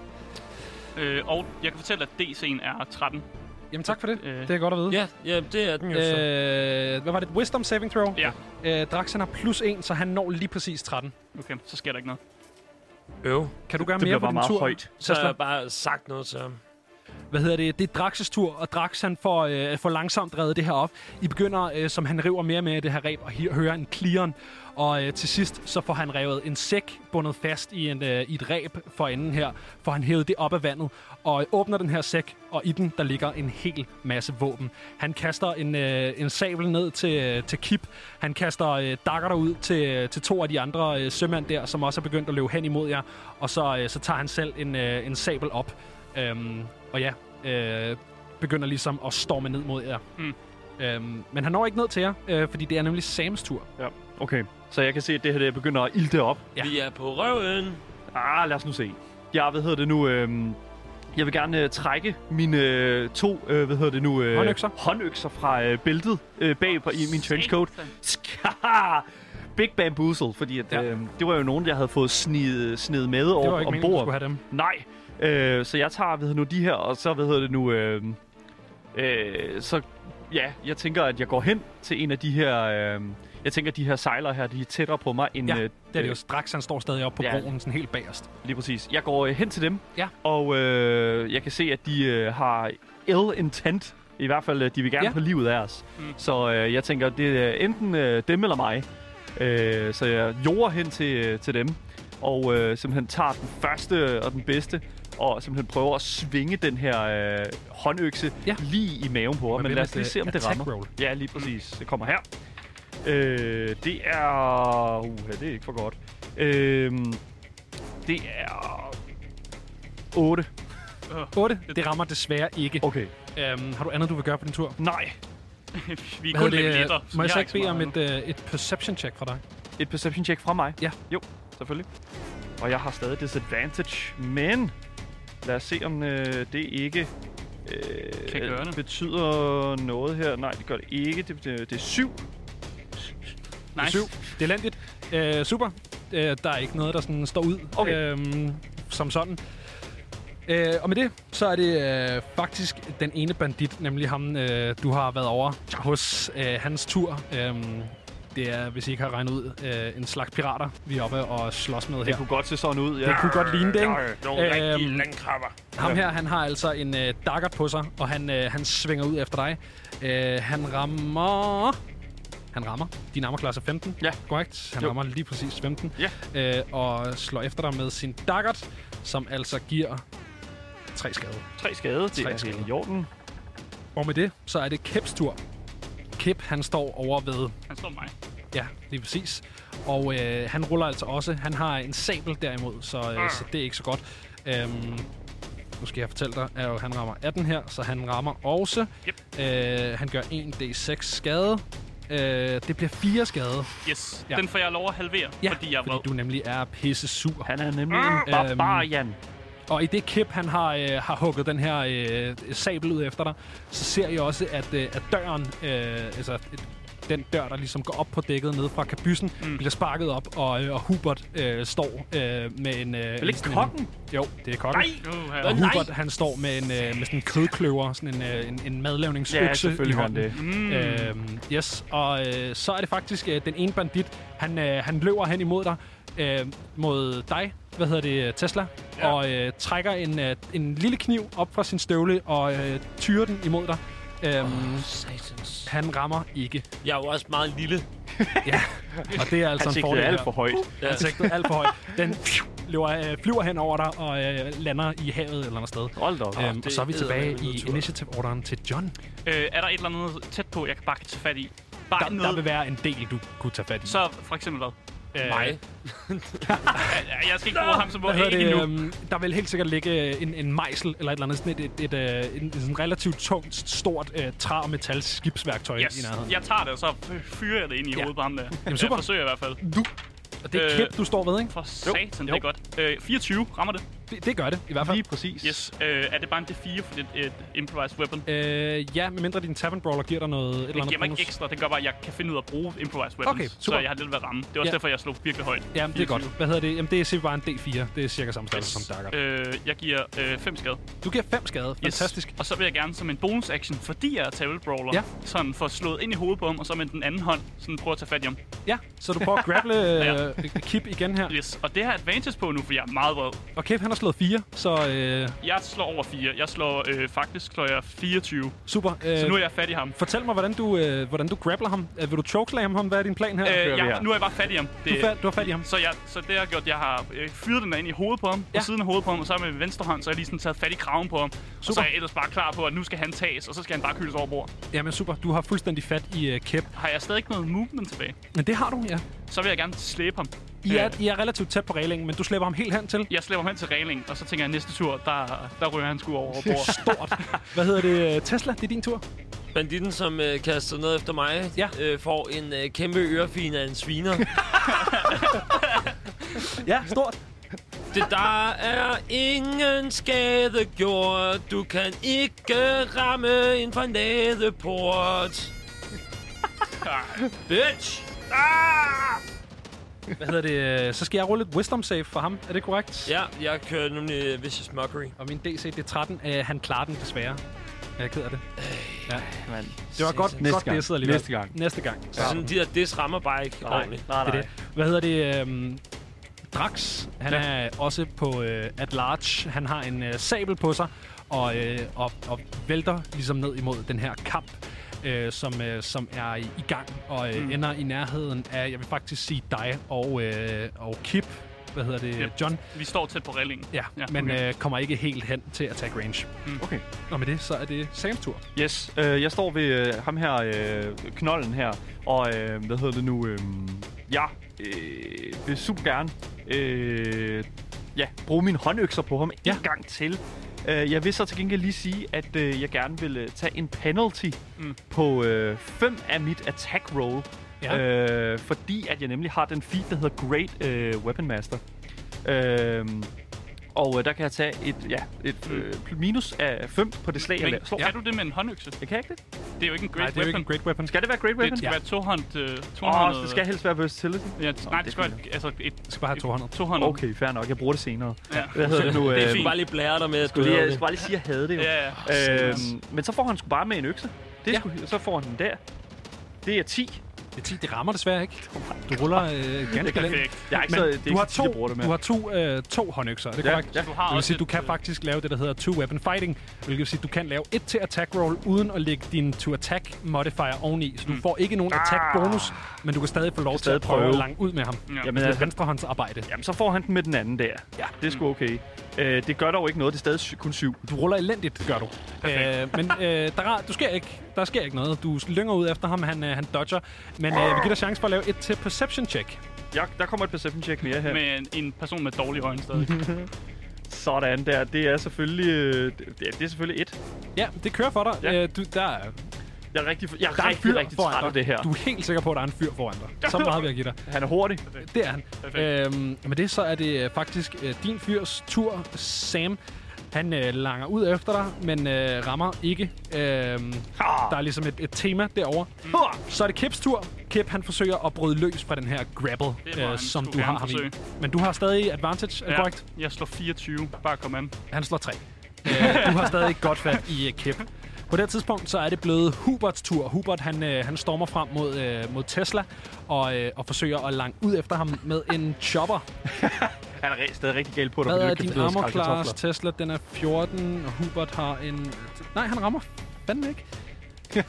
Øh, og jeg kan fortælle, at DC'en er 13.
Jamen tak for det.
Øh.
Det er godt at vide.
Ja, ja, det er den jo så.
Øh, hvad var det? Wisdom saving throw?
Ja.
Øh, Drax han har plus 1, så han når lige præcis 13.
Okay, så sker der ikke noget.
Øv.
Kan du gøre
Det
mere
bliver
på
bare
din
meget
tur?
højt.
Så har
Tesla?
jeg bare sagt noget til ham.
hvad hedder det, det er Draxes tur, og Drax han får, øh, får langsomt reddet det her op. I begynder, øh, som han river mere med det her reb, og hi- hører en kliren. Og øh, til sidst, så får han revet en sæk bundet fast i, en, øh, i et reb for enden her, for han hævet det op af vandet, og øh, åbner den her sæk, og i den, der ligger en hel masse våben. Han kaster en, øh, en sabel ned til, øh, til Kip, han kaster øh, dakker ud til, til to af de andre øh, sømænd der, som også er begyndt at løbe hen imod jer, og så, øh, så tager han selv en, øh, en sabel op. Øhm, og ja, øh, begynder ligesom at storme ned mod jer.
Mm.
Øhm, men han når ikke ned til jer, øh, fordi det er nemlig Sams tur.
Ja, okay. Så jeg kan se, at det her det begynder at ilde op.
Ja.
Ja. Vi er på røven.
Ah, lad os nu se. Jeg, hvad hedder det nu, øhm, jeg vil gerne øh, trække mine øh, to, øh, hvad hedder det nu, øh,
Håndøkser.
håndøkser fra øh, bæltet øh, bag på, i min trenchcoat.
Satan.
Skaha! Big Bamboozle, fordi at,
Ja.
ja. øh, det var jo nogen, jeg havde fået snid, snid med over
Det var ikke meningen, du
ombord.
skulle have dem.
Nej. Øh, så jeg tager, ved det nu, de her, og så, hvad hedder det nu, øh, øh, så, ja, jeg tænker, at jeg går hen til en af de her, øh, jeg tænker, at de her sejlere her, de er tættere på mig, end,
Ja,
øh,
Det er det jo. Strax han står stadig oppe på
Ja.
broen, sådan helt bagerst.
Lige præcis. Jeg går øh, hen til dem,
Ja.
og øh, jeg kan se, at de øh, har ill intent. I hvert fald, øh, de vil gerne
Ja.
ja. på livet af os.
Mm.
Mm. Så øh, jeg tænker, det er enten øh, dem eller mig. Øh, så jeg jorder hen til, øh, til dem, og øh, simpelthen tager den første og den bedste, og simpelthen prøver at svinge den her øh, håndøkse
Ja.
ja. lige i maven på
Man
ham. Men
vil
lad
et,
os lige se,
øh,
om det
attack
rammer.
roll.
Ja, lige præcis. Det kommer her. Øh, det er... Uh, det er ikke for godt. Øh, det er... 8.
8. Det rammer desværre ikke.
Okay.
Øhm, har du andet, du vil gøre på din tur?
Nej.
vi er
Hvad
kun
hedder det,
level
øh,
1'er, så
Må jeg
vi har
så ikke bede
så
om
meget
et, øh, et perception check fra dig?
Et perception check fra mig?
Ja.
Jo, selvfølgelig. Og jeg har stadig disadvantage, men... Lad os se, om øh, det ikke... Øh,
Kan gøre det.
betyder noget her. Nej, det gør det ikke. Det, det, det er 7.
endnu. Nice.
Syv. Det er landigt. Øh, super. Øh, der er ikke noget, der sådan står ud
Okay.
øhm, som sådan. Øh, og med det, så er det øh, faktisk den ene bandit, nemlig ham, øh, du har været over hos øh, hans tur. Øhm, det er, hvis I ikke har regnet ud, øh, en slags pirater, vi er oppe og slås med her.
Det kunne godt se sådan ud, ja.
Det kunne godt ligne det, ikke?
Nogle
Øhm.
rigtige landkrabber.
Ham her, han har altså en øh, dagger på sig, og han, øh, han svinger ud efter dig. Øh, han rammer... Han rammer. Din armorklasse er 15.
Ja.
Korrekt. Han jo.
Jo.
rammer lige præcis 15.
Ja.
Øh, og slår efter dig med sin daggert, som altså giver tre skade.
3 skade. Det
Tre
er
skade.
skade. i orden.
Og med det, så er det Kips tur. Kip, han står over ved
Han slår mig.
Ja, lige præcis. Og øh, han ruller altså også. Han har en sabel derimod, så, øh,
Ah.
så det er ikke så godt. Øhm, nu skal jeg fortælle dig, at jo, han rammer 18 her, så han rammer også.
Yep.
Øh, han gør 1d6 skade. Øh, det bliver 4 skade,
Yes,
Ja.
ja. den får jeg lov at halvere,
ja,
fordi jeg er vred.
fordi du nemlig er pisse sur.
Han er nemlig en barbarian.
Og i det kip, han har, øh, har hugget den her øh, sabel ud efter dig, så ser I også, at, øh, at døren, øh, altså den dør, der ligesom går op på dækket nede fra kabyssen, mm. bliver sparket op, og, øh, og Hubert øh, står øh, med en... Øh,
Vel ikke
sådan
kokken?
En, jo, det er kokken. Nej!
Uh,
Og
Nej!
Hubert, han står med, en, øh, med sådan en kødkløver, sådan en, øh, en, en madlavningsøkse
Ja, selvfølgelig
i
gør han
hånden.
det.
mm,
Øhm, yes, og øh, så er det faktisk øh, den ene bandit, han, øh, han løber hen imod dig, øh, mod dig, hvad hedder det, Tesla, ja. og øh, trækker en, øh, en lille kniv op fra sin støvle og øh, tyrer den imod dig. Øhm,
Satans.
han rammer ikke,
Jeg er jo også meget lille.
og det er altså
Han
en
sigtede
fordel
alt
her.
for højt.
Ja.
Han sigtede alt for højt. Den pfiu, løber, øh, flyver hen over dig og øh, lander i havet eller andet sted.
Hold da op.
Øhm, og
det
så er vi
er
tilbage
eddermame
i
nedtur.
initiative-orderen til John.
øh, er der et eller andet tæt på, jeg kan bare kan tage fat i? Bare
Der,
noget,
der vil være en del, du kunne tage fat i.
så for eksempel hvad?
Øh,
Mig.
Jeg, jeg skal ikke bruge ham som
Hvad
våben
hedder
ikke
det,
endnu.
øhm, der vil helt sikkert ligge øh, en, en mejsel eller et eller andet, sådan et, et, et, øh, en, en sådan relativt tungt, stort øh, træ- og metal skibsværktøj yes. i
Yes,
nærheden.
jeg tager det, og så f- fyrer jeg det ind i
Ja.
hovedet på ham der. Jamen,
super.
Jeg forsøger i hvert fald.
Og det er
øh,
kæp, du står ved, ikke?
For satan, det
jo.
er godt. Øh, 24 rammer det.
Det, det gør det, i hvert fald.
Lige præcis.
Yes. Øh, er det bare en D4 for det et improvised weapon?
Øh, ja, medmindre din Tavern Brawler giver dig noget, et eller
Det
andet
giver mig ikke
bonus.
ekstra, det gør bare, at jeg kan finde ud af at bruge improvised weapons.
Okay,
så
super.
jeg har lidt ved at ramme. Det var også
Ja.
derfor, jeg slog virkelig højt.
Jamen, det er godt.
24.
Hvad hedder det? Jamen, det er simpelthen bare en D4. Det er cirka samme størrelse som Dagger.
Øh, jeg giver 5 øh, fem skade.
Du giver 5 skade.
Yes.
Fantastisk.
Og så vil jeg gerne som en bonus action, fordi jeg er table brawler,
Ja.
sådan få slået ind i hovedet på ham, og så med den anden hånd sådan prøve at tage fat i ham.
Ja, så du prøver at grapple øh, Kip igen her.
Yes. Og det har jeg advantage på nu, for jeg er meget vred.
Og Kip, han har slået 4, så øh,
Jeg slår over 4. Jeg slår øh, faktisk slår jeg 24. Øh.
super. Øh,
Så nu er jeg fat i ham.
Fortæl mig, hvordan du, øh, hvordan du grappler ham. Øh, vil du chokeslam ham? Hvad er din plan her?
Øh,
vi
jeg,
her.
nu er jeg bare fat i ham. Det,
Du er fat- du er fat i ham.
Så, jeg, så det, jeg har gjort, jeg har øh, fyret den der ind i hovedet på ham, ja.
Ja.
på siden af hovedet på ham, og så med venstre hånd, så har jeg lige sådan taget fat i kraven på ham. Super. Og så
Super.
er jeg ellers bare klar på, at nu skal han tages, og så skal han bare køles over bord.
Jamen super, du har fuldstændig fat i øh, Kip.
Har jeg stadig ikke noget movement tilbage,
Men det har du, ja.
så vil jeg gerne slæbe ham.
I er,
Øh,
I er relativt tæt på reglingen, men du slæber ham helt hen til.
jeg slæber ham hen til reglingen, og så tænker jeg, at næste tur, der, der ryger han sgu over bord.
Stort. Hvad hedder det? øh, Tesla, det er din tur.
Banditten, som øh, kaster noget efter mig,
Ja.
øh, får en øh, kæmpe ørefin af en sviner.
Ja, stort.
det der er ingen skade gjort. Du kan ikke ramme en fornadeport. Bitch!
Hvad hedder det? øh, Så skal jeg rulle et wisdom save for ham. Er det korrekt?
Ja, jeg kører nemlig øh, Vicious Mockery.
Og min DC, det er 13. Uh, han klarer den desværre. Jeg er ked af det. Ja.
mand.
Det var godt,
Næste
godt
gang.
det, sidder alligevel.
Næste gang.
Næste gang.
Så sådan de der diss rammer bare ikke ordentligt.
Nej,
Det er
nej.
det. Hvad hedder det? Øhm, Drax, han er også på øh, at large. Han har en øh, sabel på sig og, øh, og, og vælter ligesom ned imod den her kamp, øh, som, øh, som er i, i gang og øh, mm. ender i nærheden af, jeg vil faktisk sige dig og, øh, og Kip, hvad hedder det,
Yep.
John,
Vi står tæt på reglingen.
ja, ja men okay. øh, kommer ikke helt hen til attack range.
Okay.
Og med det, så er det Sams tur.
Yes, øh, jeg står ved øh, ham her, øh, knollen her, og øh, hvad hedder det nu? Øh, ja, øh, vil super gerne øh, ja, bruge mine håndøkser på ham ja.
Ja.
en gang til. Øh, jeg vil så til gengæld lige sige, at øh, jeg gerne vil øh, tage en penalty mm. på 5 af mit attack roll,
Ja.
ja. øh, fordi at jeg nemlig har den feat, der hedder Great øh, Weapon Master. Øh, og øh, der kan jeg tage et, ja, et øh, minus af 5 på det slag, jeg
Men,
laver. slår.
ja. Kan du det med en håndøkse?
Jeg kan ikke det.
Det er jo ikke en
Nej,
great
det er jo ikke
weapon.
en great weapon.
Skal det være Great
Det
Weapon?
skal være tohånd... Øh,
Åh,
tohånd
oh, det skal helst være versatility.
Ja, t- nej, det skal
det er
være et- altså et
skal bare have 200.
tohånd.
Okay, fair nok. Jeg bruger det senere.
Ja.
Hvad hedder det nu?
Det er
øhm,
fint. bare lige blære dig med, at du
skulle lige-
laver
Jeg
det.
skulle bare lige sige, at jeg havde det jo.
Ja, ja.
Øhm, men så får han sgu bare med en økse. Det
Ja.
ja. skulle, så får han den der. Det er 10.
Det, er 10, det rammer desværre ikke. Du ruller øh, ganske lidt.
Perfekt.
Jeg er ikke
Men
så, det er
du,
ikke
har
så tit, jeg
to,
bruger det med.
du har to, øh, to håndøkser, er det
Ja,
korrekt?
ja.
Du har
det vil
også
sige, du
et,
kan
øh,
faktisk lave det, der hedder two-weapon fighting, hvilket vil sige, du kan lave et til attack roll, uden at lægge din to-attack modifier oveni. Så du får ikke nogen attack bonus, men du kan stadig få lov til
Mm. Ah. stadig
at prøve,
prøve.
at langt ud med ham. Ja.
Ja.
Jamen, det er
altså-
venstrehåndsarbejde.
Jamen, så får han den med den anden der.
Ja.
Det er sgu okay. Øh, det gør dog ikke noget. Det er stadig sy- kun 7.
Du ruller elendigt, gør du. Øh, men øh, der, er- du sker ikke, der sker ikke noget. Du lynger ud efter ham, han, øh, han dodger. Men øh, vi giver dig chance for at lave et til perception check.
Jeg, der kommer et perception check mere her. Men.
Med en, en person med dårlige øjne stadig.
Mhm,
Sådan der. Det er selvfølgelig... Øh, det, det er selvfølgelig et.
Ja, det kører for dig. Ja.
Ja.
Øh, du, der er
Jeg er rigtig, jeg er
Der er en
rigtig,
fyr
rigtig
foran
træt af
dig.
det her.
Du er helt sikker på, at der er en fyr foran dig. Så meget vil jeg give dig.
Han er hurtig.
Det er han. Øhm, med det så er det øh, faktisk øh, din fyrs tur, Sam. Han øh, langer ud efter dig, men øh, rammer ikke. Øhm,
Ah.
der er ligesom et, et tema derovre. Mm. Så er det Kips tur. Kip han forsøger at bryde løs fra den her
Det
grapple,
må
øh,
han
som
sgu
du
gerne
har ham i.
forsøge.
Men du har stadig advantage, er det korrekt?
Jeg slår 24. Bare kom an.
Han slår tre. Øh, du har stadig godt fat i uh, Kip. På det her tidspunkt, så er det blevet Huberts tur. Hubert, han, øh, han stormer frem mod, øh, mod Tesla og, øh, og forsøger at lange ud efter ham med en chopper.
Han er re- stadig rigtig gal på dig,
Hvad
fordi du
er
ikke
din
kan bløde
armor class?
skraldkartofler.
Tesla, den er 14, og Hubert har en... Nej, han rammer fandme ikke.
De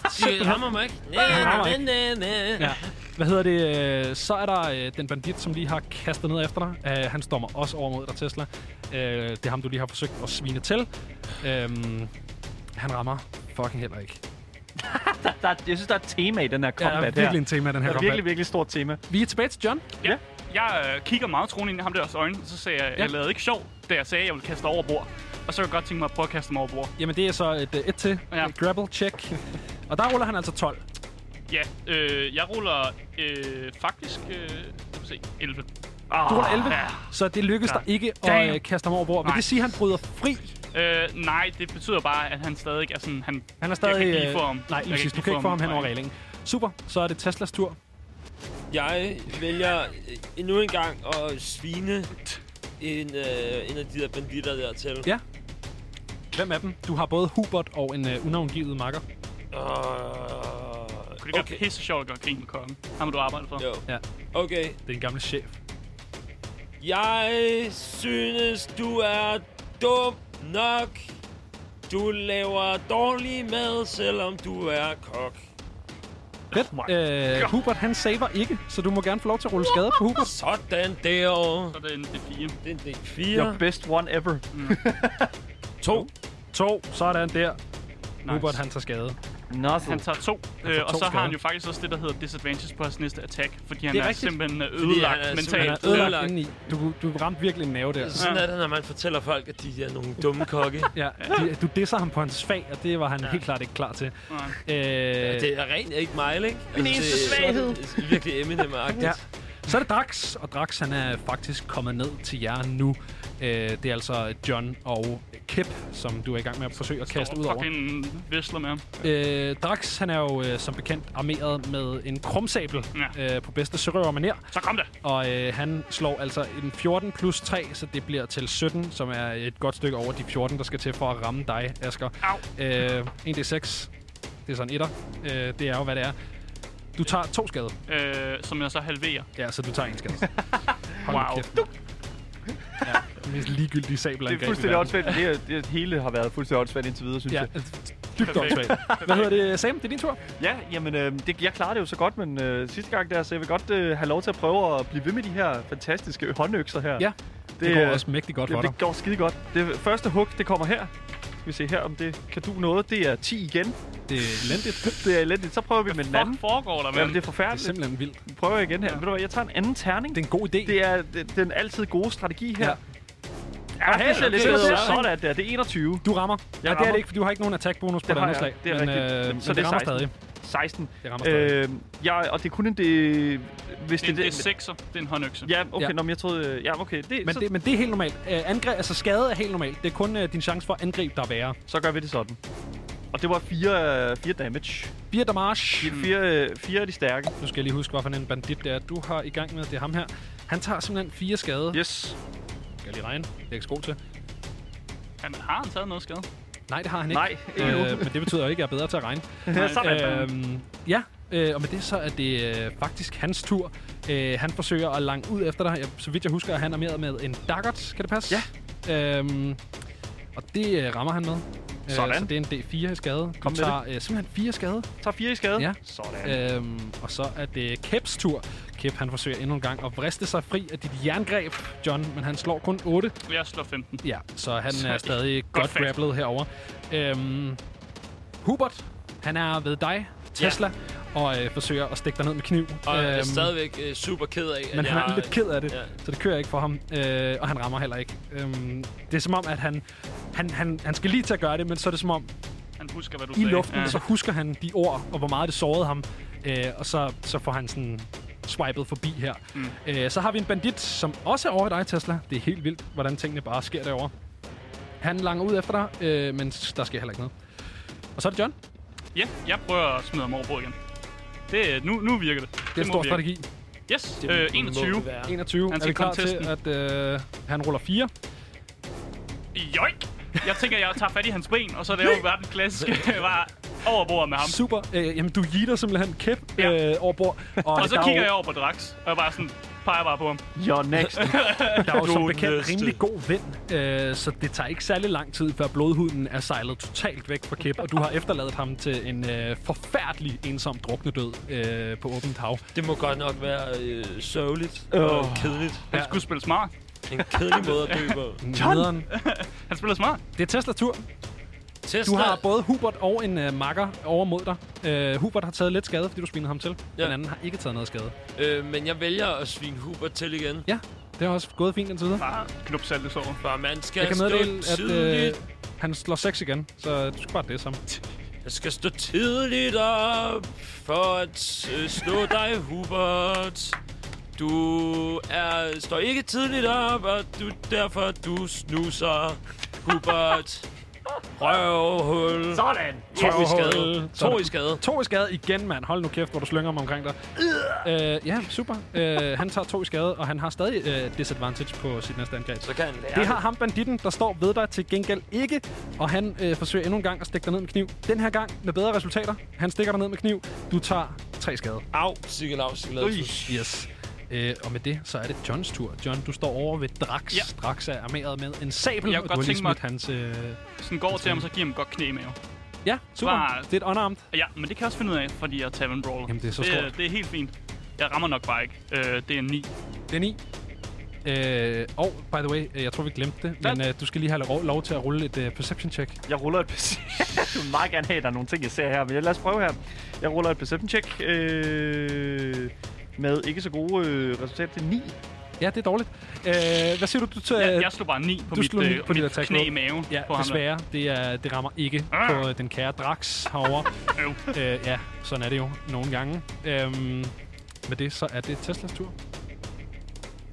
rammer mig ikke. Næ,
rammer
næ,
ikke.
næ, næ, næ.
Ja. Hvad hedder det? øh, Så er der øh, den bandit, som lige har kastet ned efter dig. Øh, Han stormer også over mod dig, Tesla. Øh, Det er ham, du lige har forsøgt at svine til. Øhm, Han rammer fucking heller ikke.
Der er, jeg synes, der er et tema i den her
Ja, der er
combat her.
virkelig en tema, i den
Der
her
er
combat.
virkelig, virkelig stort tema.
Vi er tilbage til John.
Ja. Jeg øh, kigger meget troende ind i ham deres øjne, og så sagde jeg,
Ja.
jeg lavede ikke sjov, da jeg sagde, at jeg ville kaste dig over bord. Og så kan jeg godt tænke mig at prøve at kaste dem over bord.
Jamen, det er så et, øh, et til.
Ja.
Ja. Grapple check. Og der ruller han altså 12.
Ja, øh, jeg ruller øh, faktisk øh, lad mig se, 11.
Du ruller 11, så det lykkedes dig ikke at
Damn.
øh, kaste ham over bord. Vil
Nej.
det sige, at han bryder fri?
Øh, nej, det betyder bare, at han stadig er sådan... Han,
Han er stadig...
Jeg kan ikke lige
øh,
få ham.
Nej,
Jeg
præcis. Du kan ikke få ham hen over
Nej.
reglingen. Super, så er det Teslas tur.
Jeg vælger endnu en gang at svine en, øh, en af de der banditter der til.
Ja. Hvem af dem? Du har både Hubert og en øh, unavngivet makker.
Kunne
Uh,
det okay.
okay.
være pisse sjovt at gøre grin med kongen? Ham må du arbejde for.
Jo.
Ja.
Okay.
Det er en gammel chef.
Jeg synes, du er dum nok. Du laver dårlig mad, selvom du er kok.
Fedt. Øh, Hubert, han saver ikke, så du må gerne få lov til at rulle skade på Hubert.
Sådan der.
Så er det en D4.
Det er en del
Your
4.
best one ever.
To.
To. Sådan der.
Nice.
Hubert, han tager skade.
Han
Nothing.
tager to, øh,
tager
og
to
så
skade.
har han jo faktisk også det, der hedder disadvantage på hans næste attack, fordi han
Det er
er,
rigtigt.
simpelthen øh,
han
ødelagt
er
mentalt.
simpelthen
Han er ødelagt indeni. Du, du ramte virkelig en nerve der.
Sådan er det, når man fortæller folk, at de er nogle dumme kokke.
Ja, de, du disser ham på hans fag, og det var han ja. helt klart ikke klar til.
Nej.
Øh,
Ja,
ja,
det er rent ikke mig, ikke? Min
eneste svaghed.
Det er øh, virkelig Eminem-agtigt.
ja.
Ja.
Så er det Drax, og Drax han er faktisk kommet ned til jer nu. Øh, det er altså John og Kip, som du er i gang med at forsøge at kaste ud
Står
over.
fucking visler med ham.
Øh, Drax han er jo øh, som bekendt armeret med en krumsabel ja.
Ja.
øh, på bedste sørøvermanér.
Så kom der!
Og øh, han slår altså en 14 plus 3, så det bliver til 17, som er et godt stykke over de 14, der skal til for at ramme dig, Asger.
Au.
Øh, 1d6. Det er sådan etter. Øh, det er jo, hvad det er. Du tager to skade.
Øh, som jeg så halverer.
Ja, så du tager en skade. Hold nu
Wow.
kæft. Ja, den mest ligegyldige sabelangreb.
Det er fuldstændig åndssvagt. Det, er- det hele har været fuldstændig åndssvagt indtil videre, synes
Ja, øh,
jeg.
dybt åndssvagt. Hvad hedder det, Sam? Det er din tur.
Ja, jamen, øh, det, jeg klarede det jo så godt, men øh, sidste gang der, så jeg vil godt øh, have lov til at prøve at blive ved med de her fantastiske håndøkser her.
Ja, det, det
øh,
går også mægtigt godt for
Jamen,
dig.
det går skide godt. Det første hug, det kommer her. Skal vi se her, om det kan du noget. Det er 10 igen.
Det er elendigt.
Det er elendigt. Så prøver vi med den
Hvad
anden.
foregår der, mand?
Jamen, det er
Det er
forfærdeligt.
simpelthen vildt.
Vi prøver igen her. Ved du hvad, jeg tager en anden terning.
Det er en god idé.
Det er den, den altid gode strategi her.
Ja.
Ja, ja det er
det er
lidt
lidt
bedre.
bedre.
Sådan der. Det er 21.
Du rammer. Ja, det er
rammer.
det ikke, for du har ikke nogen attack-bonus på
Det
det
har
andet slag.
jeg. Det er
men,
rigtigt.
øh,
Men-
men
så
det,
det er
rammer
16.
stadig.
16.
Det rammer stadig.
Øh, ja, og det er kun en det... Hvis
det,
det,
det, er sekser. Det er en håndøkse.
Ja, okay,
Ja.
ja. Nå, men jeg troede... øh, Ja, okay, det,
Men
så,
det, men det er helt normalt. Øh, angreb, altså skade er helt normalt. Det er kun øh, din chance for at angribe, der er værre.
så gør vi det sådan. Og det var fire, øh, fire damage.
Fire damage.
De
Hmm.
fire, øh, fire af de stærke.
Nu skal jeg lige huske, hvorfor en bandit det er, du har i gang med. Det er ham her. Han tager simpelthen fire skade. Yep.
Yes.
Skal jeg lige regne? Det er jeg ikke så god til.
Han, har han taget noget skade?
Nej, det har han ikke.
Nej, ikke nu.
øh, men det betyder jo ikke, at jeg er bedre til at regne.
Ja, sådan.
Øhm, ja, øh, og med det så er det øh, faktisk hans tur. Øh, han forsøger at lange ud efter dig. Jeg, så vidt jeg husker, er han armeret med en daggert. Kan det passe? Ja. Øhm, og det øh, rammer han med. Øh,
Sådan.
Så det er en D4 i skade.
Kom
du
med
tager øh, simpelthen 4 skade.
Tager fire i skade.
Ja.
Sådan.
Øhm, og så er det Keps tur. Kep, han forsøger endnu en gang at vriste sig fri af dit jerngreb, John, men han slår kun 8.
Jeg slår 15.
Ja, så han
Så-
er stadig godt,
fat.
grapplet herover. Øhm, Hubert, han er ved dig, Tesla, og øh, forsøger at stikke dig ned med kniv. Øhm,
Og jeg er stadigvæk øh, super ked af, at
men
jeg
han er
har-
lidt ked af det, ja.
Ja.
så det kører ikke for ham, øh, og han rammer heller ikke. Øhm, det er som om, at han, han, han, han skal lige til at gøre det, men så er det som om,
Han husker, hvad du
i
sagde.
luften, ja. så husker han de ord, og hvor meget det sårede ham. Øh, og så, så får han sådan swipet forbi her. Mm. Øh, så har vi en bandit, som også er over ved dig, Tesla. Det er helt vildt, hvordan tingene bare sker derovre. Han langer ud efter dig, øh, men s- der sker heller ikke noget. Og så er det John. Det,
Ja, jeg prøver at smide ham over bord igen. Det, nu, nu virker det. Det,
er en
må
stor
virke.
strategi.
Yes,
Det
øh,
må
21.
det være.
21.
Han
er
skal
vi klar
komme
til, at øh, han ruller 4?
Joik! Jeg tænker, jeg tager fat i hans ben, og så laver jeg bare den klassiske bare over bord med ham.
Super. Øh, jamen, du jeter simpelthen kæp
Ja.
øh, over bord.
Og så
der er
kigger
jo-
jeg over på Drax, og jeg bare sådan peger bare på ham.
You're next.
Øh, Der er jo som
Du er
bekendt
næste.
rimelig god vind, øh, så det tager ikke særlig lang tid, før blodhuden er sejlet totalt væk fra Kip, og du har efterladt ham til en øh, forfærdelig ensom druknedød øh, på åbent hav.
Det må godt nok være øh, sørgeligt og
Åh.
kedeligt.
Han skulle spille smart.
En kedelig måde at dø på.
John! Nederen.
Han spiller smart.
Det er Tesla tur.
Tesla,
Du har både Hubert og en øh, makker over mod dig. Øh, Hubert har taget lidt skade, fordi du spinede ham til. Ja.
Ja.
Den anden har ikke taget noget skade.
øh, men jeg vælger at svine Hubert til igen.
Ja, det har også gået fint indtil videre.
Bare knop saltes over.
For man skal
Jeg kan
stå
meddele, at øh,
tidligt.
han slår 6 igen, så du skal bare det sammen.
Jeg skal stå tidligt op for at øh, slå dig, Hubert. Du er, står ikke tidligt op, og du, derfor du snuser Hubert. Røvhul.
Sådan!
To i skade. To i skade.
To i skade igen, mand. Hold nu kæft, hvor du slynger mig omkring dig. Øh, ja, super. Øh, han tager to i skade, og han har stadig øh, disadvantage på sit næste angreb.
Så kan han lære.
Det har ham banditten, der står ved dig til gengæld ikke, og han øh, forsøger endnu en gang at stikke dig ned med kniv. Den her gang med bedre resultater. Han stikker dig ned med kniv. Du tager tre skade.
Au, sikkert au, sikkert
Yes. Øh, og med det, så er det Johns tur. John, du står over ved Drax. Ja.
Ja.
Drax er armeret med en sabel,
Jeg kunne
og du
godt
har lige
tænke mig-
smidt hans... Øh...
Sådan går til ham, så giver ham et godt knæ med.
Ja, super.
Bare-
Det er et unarmed.
Ja, men det kan jeg også finde ud af, fordi jeg tager en brawler.
Jamen, det er så
det, er-
stort.
det er helt fint. Jeg rammer nok bare ikke. Øh, det er en 9.
Det er 9. Øh, og, by the way, øh, jeg tror, vi glemte det, men øh, du skal lige have lov, lov til at rulle et øh, perception check.
Jeg ruller et perception. jeg vil meget gerne have, at der er nogle ting, jeg ser her, men lad os prøve her. Jeg ruller et perception check øh, med ikke så gode øh, resultater til 9.
Ja, det er dårligt. Øh, hvad siger du? Du, tager,
Jeg, jeg slog bare 9 på
Øh, du
mit,
slog 9
øh,
på dit
mit
attack
knæ
roll.
i maven
ja,
på ham. der.
desværre. Det, er, det rammer ikke på øh, den kære Drax herovre.
Øv.
øh, ja, sådan er det jo nogle gange. Øhm, med det, så er det Teslas tur.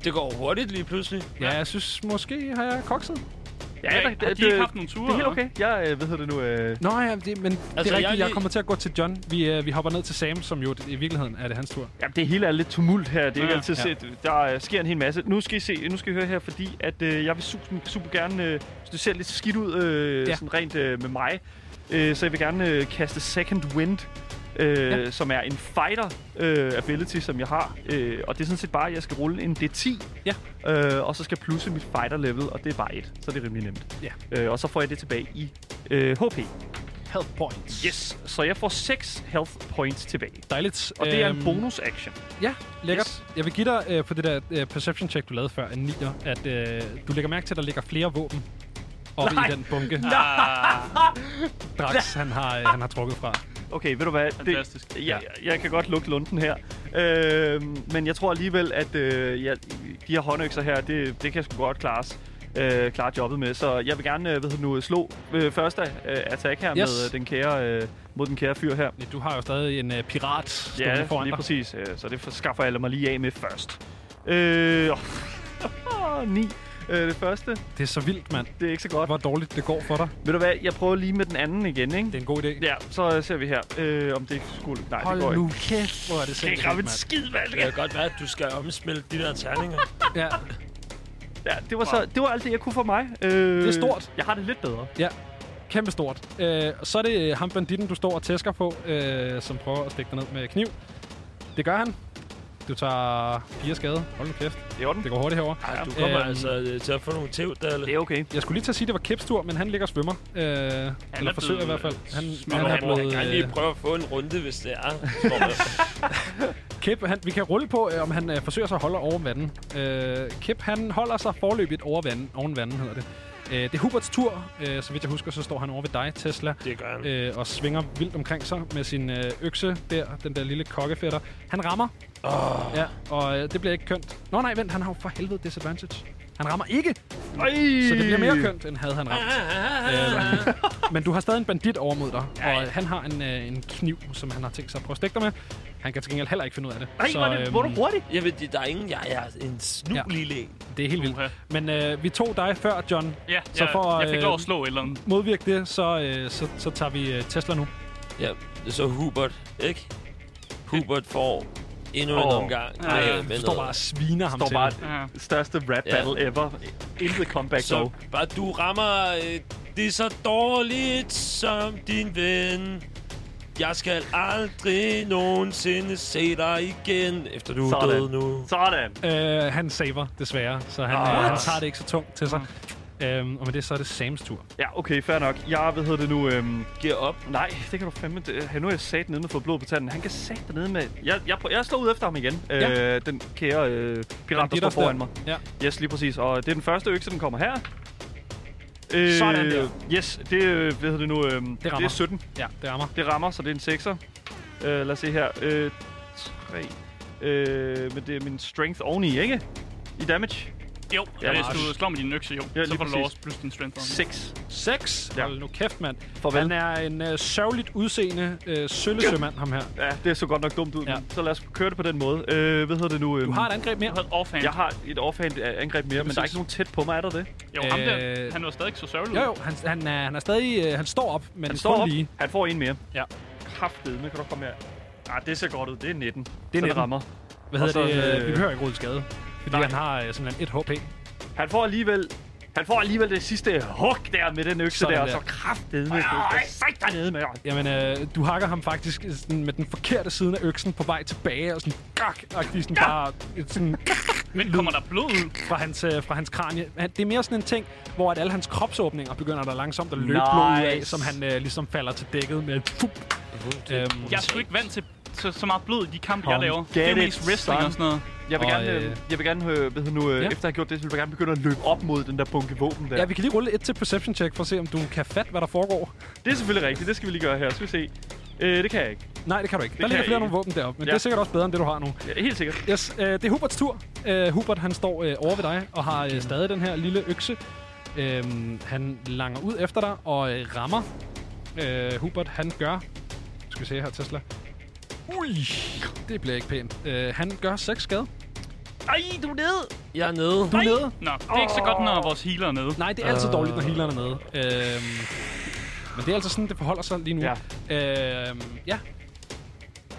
Det går hurtigt lige pludselig.
Ja, jeg synes måske har jeg kokset.
Ja,
der-
har
det-
de ikke
det-
haft nogle ture?
Det er helt
eller?
okay. Jeg, øh, hvad hedder det nu? Øh,
Nå ja, det, men altså, det er
jeg
rigtigt. Jeg,
lige-
jeg kommer til at gå til John. Vi, øh, vi hopper ned til Sam, som jo i virkeligheden er det hans tur.
Jamen, det hele er lidt tumult her. Det er ikke
Ja.
altid
Ja.
set. Der øh, sker en hel masse. Nu skal I se, nu skal I høre her, fordi at øh, jeg vil super, super gerne... Øh, så det ser lidt skidt ud øh,
Ja.
ja. sådan rent øh, med mig. Øh, så jeg vil gerne øh, kaste Second Wind, øh,
Ja.
ja. som er en fighter øh, ability, som jeg har. Øh, og det er sådan set bare, at jeg skal rulle en D10.
Ja.
Øh, og så skal jeg plusse mit fighter level, og det er bare et. Så det er rimelig nemt.
Ja.
Øh, og så får jeg det tilbage i øh, HP.
Health points.
Yes. Så jeg får 6 health points tilbage.
Dejligt.
Og det er en
Øhm,
bonus action.
Ja, lækkert. Yes. Jeg vil give dig øh, på det der øh, perception check, du lavede før, en 9'er, at øh, du lægger mærke til, at der ligger flere våben oppe
Nej.
i den bunke,
Ah,
Drax han har, øh, han har trukket fra.
Okay, ved du hvad?
Fantastisk.
Det, jeg, jeg kan godt lukke lunden her. Øh, men jeg tror alligevel, at øh, jeg, de her håndøkser her, det, det kan jeg sgu godt klares. Øh, klare jobbet med. Så jeg vil gerne øh, ved du nu, slå øh, første øh, attack her yes. med øh, den kære, øh, mod den kære fyr her.
Du har jo stadig en øh, pirat stående
Ja,
foran
lige
dig.
præcis. Øh, så det skaffer jeg mig lige af med først. Øh, oh, ni. Øh, det første,
Det er så vildt, mand.
det er ikke så godt.
Hvor dårligt det går for dig.
Ved du hvad, jeg prøver lige med den anden igen, ikke?
Det er en god idé.
Ja, så øh, ser vi her, øh, om det skulle... Nej, det går
Hold
ikke.
nu kæft, hvor er det
Det
sindssygt,
er et
mand.
skid, mand.
Det kan godt være, at du skal omsmelte de der terninger.
Ja,
Ja, det var, så, det var alt det, jeg kunne for mig. Øh, det
er stort.
Jeg har det lidt bedre.
kæmpe stort. Øh, så er det øh, ham banditten, du står og tæsker på, øh, som prøver at stikke dig ned med kniv. Det gør han. Du tager fire skade. Hold nu kæft.
Det er orden.
Det går hurtigt herover.
Ej, du kommer
Øhm.
altså øh, til at få nogle tæv, der
Det er okay.
Jeg skulle lige til at sige, at det var Kips tur, men han ligger og svømmer. Øh, han eller
blevet,
forsøger i hvert fald. Han,
Han,
han er
han, han
blevet...
kan
Øh,
lige prøve at få en runde, hvis det er.
Kip, han, vi kan rulle på, øh, om han øh, forsøger sig at holde over vandet. Øh, Kip, han holder sig forløbigt over vandet, oven vandet hedder det. Øh, det er Huberts tur. Øh, så vidt jeg husker, så står han over ved dig, Tesla.
Det gør han.
Øh, og svinger vildt omkring sig med sin øh, økse der, den der lille kokkefætter. Han rammer. Oh. Ja, og øh, det bliver ikke kønt. Nå nej, vent, han har jo for helvede disadvantage. Han rammer ikke,
Ej!
så det bliver mere kønt, end havde han ramt. Øh, men du har stadig en bandit over mod dig, og øh, han har en, øh, en kniv, som han har tænkt sig at prøve at stikke dig med. Han kan til gengæld heller ikke finde ud af det. øhm,
Ej, hvor er det, hvor er du hurtig?
Jeg ved, det- der er ingen... Jeg er en snu
Ja.
ja. lille en.
det er helt vildt.
Uha.
Men øh, vi tog dig før, John.
Ja,
Så
så jeg,
for,
for, jeg fik
øh,
lov at slå et eller andet.
Modvirk det, så, øh, så, så tager vi øh, Tesla nu.
Ja, så Hubert, ikke? Hubert får endnu en
Åh.
omgang.
Ja,
med-
ja.
med
Du står
noget.
bare og sviner ham
Står
til.
bare
Ja.
det største rap
Ja.
battle ever. Intet comeback dog.
Så bare du rammer øh, det så dårligt som din ven. Jeg skal aldrig nogensinde se dig igen, efter du er
Sådan.
død nu.
Sådan.
Øh, han saver, desværre, så han, øh, han tager det ikke så tungt til sig.
Mm.
Øhm, og med det, så er det Sams tur.
Ja, okay, fair nok. Jeg, hvad hedder det nu, øhm,
Giver op.
Nej, det kan du fandme... Det, øh, nu er jeg sat nede med fået blod på tanden. Han kan sat dernede med... Jeg, jeg, prø- jeg slår ud efter ham igen.
Ja.
Øh, den kære øh, pirat, der
Banditers
står foran
der.
mig.
Ja.
Yes, lige præcis. Og det er den første økse, den kommer her. Øh,
Sådan der.
Yes, det, øh, hvad hedder det nu, øh, det, det
rammer.
er 17.
Ja, det rammer.
Det rammer, så det er en 6'er. Øh, lad os se her. Øh, 3. Øh, men det er min strength oveni, ikke? I damage.
Jo, ja, hvis du slår med din økse, jo, ja, så
lige
får du lov at
præcis.
plus din strength. bonus.
6.
6. Ja.
Ja.
Hold nu kæft, mand.
Farvel.
Han er en øh, sørgeligt udseende øh, søllesømand, ham her.
Ja, det så godt nok dumt ud,
Ja.
ja. men så lad os køre det på den måde. Øh, hvad hedder det nu?
Du har et angreb
Jeg
mere.
havde offhand.
Jeg har et offhand øh, angreb mere, men der er
præcis.
ikke nogen tæt på mig, er der det?
Jo, ham der,
Øh,
han var stadig ikke så sørgelig.
Jo, jo, han, han, er, han er stadig... Øh, han står op, men
Han står
kun
op.
lige.
Han får en mere.
Ja.
Kraftedeme, kan du komme her? Ah, det ser godt ud. Det er 19. Det er
19.
rammer.
Hvad hedder
Og så,
det? Øh,
øh,
vi behøver ikke rydde skade. Fordi
nej.
han har øh, simpelthen et HP.
Han får alligevel... Han får alligevel det sidste hug der med den økse
Sådan
der, og
der.
så kraftedeme. Ej, sæt dig nede med dig.
Jamen, øh, du hakker ham faktisk sådan, med den forkerte side af øksen på vej tilbage, og sådan... Gak! Og sådan bare... Et, sådan,
Men kommer der blod ud?
fra hans, øh, fra hans kranie. Han- Det er mere sådan en ting, hvor at alle hans kropsåbninger begynder der langsomt at løbe nice. blod ud af,
Nice.
som han øh, ligesom falder til dækket med. Fup. Øhm,
Jeg er sgu ikke vant til så, så meget blod i de kampe, jeg
Come
laver.
get
Det er jo
it,
mest wrestling
son.
og sådan noget.
Jeg vil
Og,
gerne, øh,
øh,
jeg vil gerne øh, hvad hedder nu, øh,
ja.
ja. efter jeg har gjort det, så vil jeg gerne begynde at løbe op mod den der bunke våben der.
ja, vi kan lige rulle et til perception check for at se, om du kan fatte, hvad der foregår.
Det er selvfølgelig rigtigt, det skal vi lige gøre her. Skal vi se. Øh, det kan jeg ikke.
Nej, det kan du ikke. Det der
kan
ligger
jeg
flere
ikke.
nogle våben deroppe, men ja.
Ja.
det er sikkert også bedre, end det, du har nu.
Ja, helt sikkert.
Yes, øh, det er Huberts tur. Øh, Hubert, han står øh, over ved dig og har øh, stadig den her lille økse. Øhm, han langer ud efter dig og øh, rammer. Øh, Hubert, han gør... Skal vi se her, Tesla. Ui, det bliver ikke pænt. Øh, han gør 6 skade.
Ej, du er nede!
Jeg er nede.
Du er nede.
Nå, det er ikke så godt, når vores healer er nede.
Nej, det er altid dårligt, når healeren er nede. Øhm, men det er altså sådan, det forholder sig lige nu.
Ja.
Øhm, ja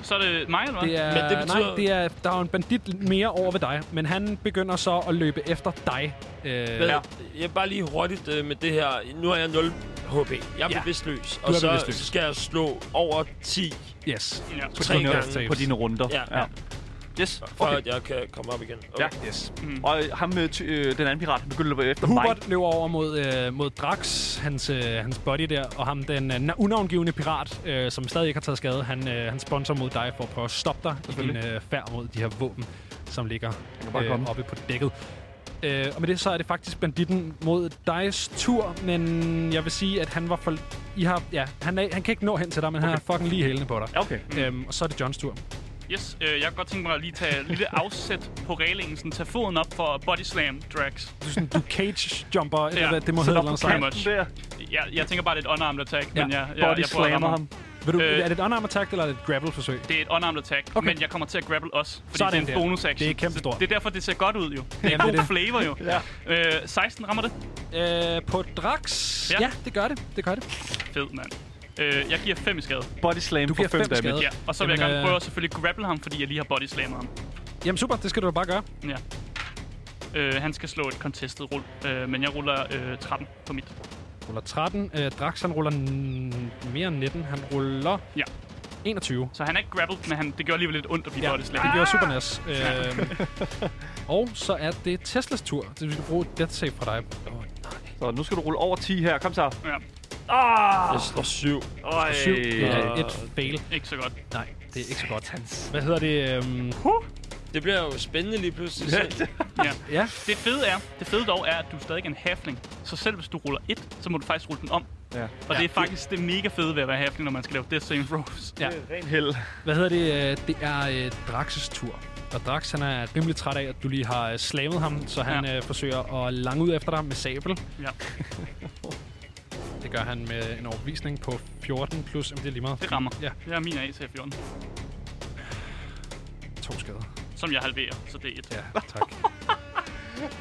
Så er det mig, eller hvad?
det er,
Men det betyder-
nej, det er, der er jo en bandit mere over ved dig, men han begynder så at løbe efter dig. Øh,
Hvad,
ja.
ja. Jeg vil bare lige hurtigt øh, med det her. Nu er jeg 0 HP. Jeg er
Ja.
ja. bevidstløs.
er
Og så
bevidstløs.
skal jeg slå over 10
Yes.
Ja.
dine
tre gange,
nerve saves.
På dine runder.
Ja.
Yes,
for
okay.
at jeg kan komme op igen. Okay.
Ja. Yes. Mm. Og øh, ham, øh, ty- øh, den anden pirat, han begynder at løbe efter mig.
Hubert løber over mod, øh, mod Drax, hans, øh, hans buddy der, og ham, den øh, unavngivende pirat, øh, som stadig ikke har taget skade, han, øh, han sponsor mod dig for at prøve at stoppe dig i din øh, færd mod de her våben, som ligger øh, oppe på dækket. Øh, og med det, så er det faktisk banditten mod digs tur, men jeg vil sige, at han var for... I har, ja, han, er, han kan ikke nå hen til dig, men okay. han er fucking lige hælende på dig.
Ja, okay.
Øhm, og så er det Johns tur.
Yes, øh, jeg kunne godt tænke mig at lige tage et lille afsæt på reglingen, sådan tage foden op for body slam drags.
Du, er sådan, du cage-jumper, eller
Ja,
hvad det må
så
hedde.
der
Eller
på
sådan.
kanten.
noget.
Much.
Der.
Jeg, jeg tænker bare, det er et unarmed attack,
Ja,
men jeg, jeg, jeg,
Body
prøver at ramme
slammer ham.
Vil du,
Øh,
er det et unarmed attack, eller er det et grapple-forsøg?
Det er et unarmed attack,
Okay.
okay. men jeg kommer til at grapple også, fordi
Sådan
Sådan det er
der.
en bonus action.
Det er kæmpestort.
Så Det er derfor, det ser godt ud jo. Det er
Jamen, det er
god
det.
flavor jo. ja. øh, 16 rammer det.
Øh, på Drax? Ja.
Ja.
ja, det gør det. Det gør det.
Fed, mand. Øh, jeg giver 5 i skade.
Body slam
Du
for
giver
5
fem
damage.
skade.
Ja, og så vil
Jamen,
jeg gerne
øh,
prøve at selvfølgelig grapple ham, fordi jeg lige har body slammet ham.
Jamen super, det skal du jo bare gøre.
Ja. Øh, han skal slå et contested rull, øh, men jeg ruller øh, 13 på mit.
Ruller 13. Øh, Drax, han ruller n- mere end 19. Han ruller
Ja.
21.
Så han er ikke grappled, men han, det gør alligevel lidt ondt at blive
Ja, Ah.
body
det
slammet.
bliver super næs. Øh, og så er det Teslas tur. Det vil bruge et death save fra dig.
Så nu skal du rulle over 10 her. Kom så.
Ja,
Jeg slår 7.
Øj.
Syv. Det er et fail.
ikke så godt.
Nej, det er ikke så godt. Hvad hedder det? Øhm,
Det bliver jo spændende lige pludselig. Så.
Ja.
ja,
Det fede er, det fede dog er, at du er stadig en halfling. Så selv hvis du ruller et, så må du faktisk rulle den om.
Ja.
Og det er faktisk det mega fede ved at være halfling, når man skal lave death same throws.
ja.
Ren held.
Hvad hedder det? Øh, Det er øh, Draxes tur. Og Drax, han er rimelig træt af, at du lige har øh, slamet ham, så han
Ja.
øh, forsøger at lange ud efter dig med sabel.
Ja.
Det gør han med en overbevisning på 14 plus... Jamen, det er lige meget.
Det rammer.
Ja,
Det er min AC 14,
to skader.
som jeg halverer, så det er et.
Ja, tak.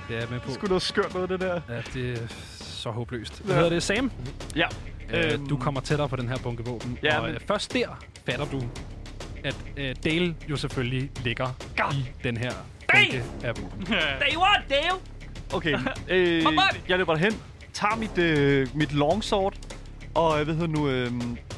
det er jeg med på.
Skulle noget skørt noget, det der.
Ja, det er så håbløst. Hvad hedder det? Sam?
Ja.
Øh, du kommer tættere på den her bunke våben.
Øhm. Ja,
og
men-
øh, først der fatter du, at øh, Dale jo selvfølgelig ligger God. i den her bunke af våben.
Ja.
Okay. Øh, jeg løber derhen, tager mit, øh, mit longsword, og øh, hvad hedder nu, øh,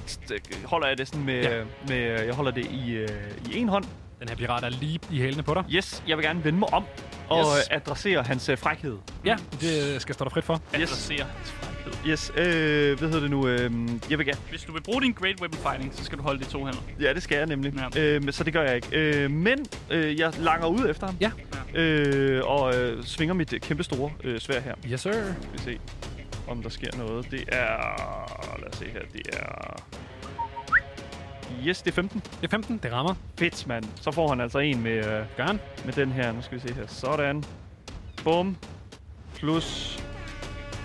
st- holder jeg det sådan med,
Ja.
ja. med øh, jeg holder det i, øh, i en hånd.
Den her pirat er lige i hælene på dig.
Yes, jeg vil gerne vende mig om og
Yes.
yes. adressere hans øh, frækhed.
Ja, det skal stå dig frit for.
Jeg adresserer hans frækhed.
Yes, øh, hvad hedder det nu, øh, jeg vil gerne,
Hvis du vil bruge din Great Weapon Fighting, så skal du holde det i to hænder.
ja det skal jeg nemlig,
Ja.
ja. øh, men- så det gør jeg ikke. Øh, men øh, jeg langer ud efter ham,
Ja.
øh, og øh, svinger mit øh, kæmpe store øh, svær her.
Yes, sir.
Vi se, om der sker noget. Det er... Lad os se her. Det er... Yes, det er 15.
Det er 15. Det rammer.
Fedt, mand. Så får han altså en med, øh,
Gør han.
med den her. Nu skal vi se her. Sådan. Bum.
plus...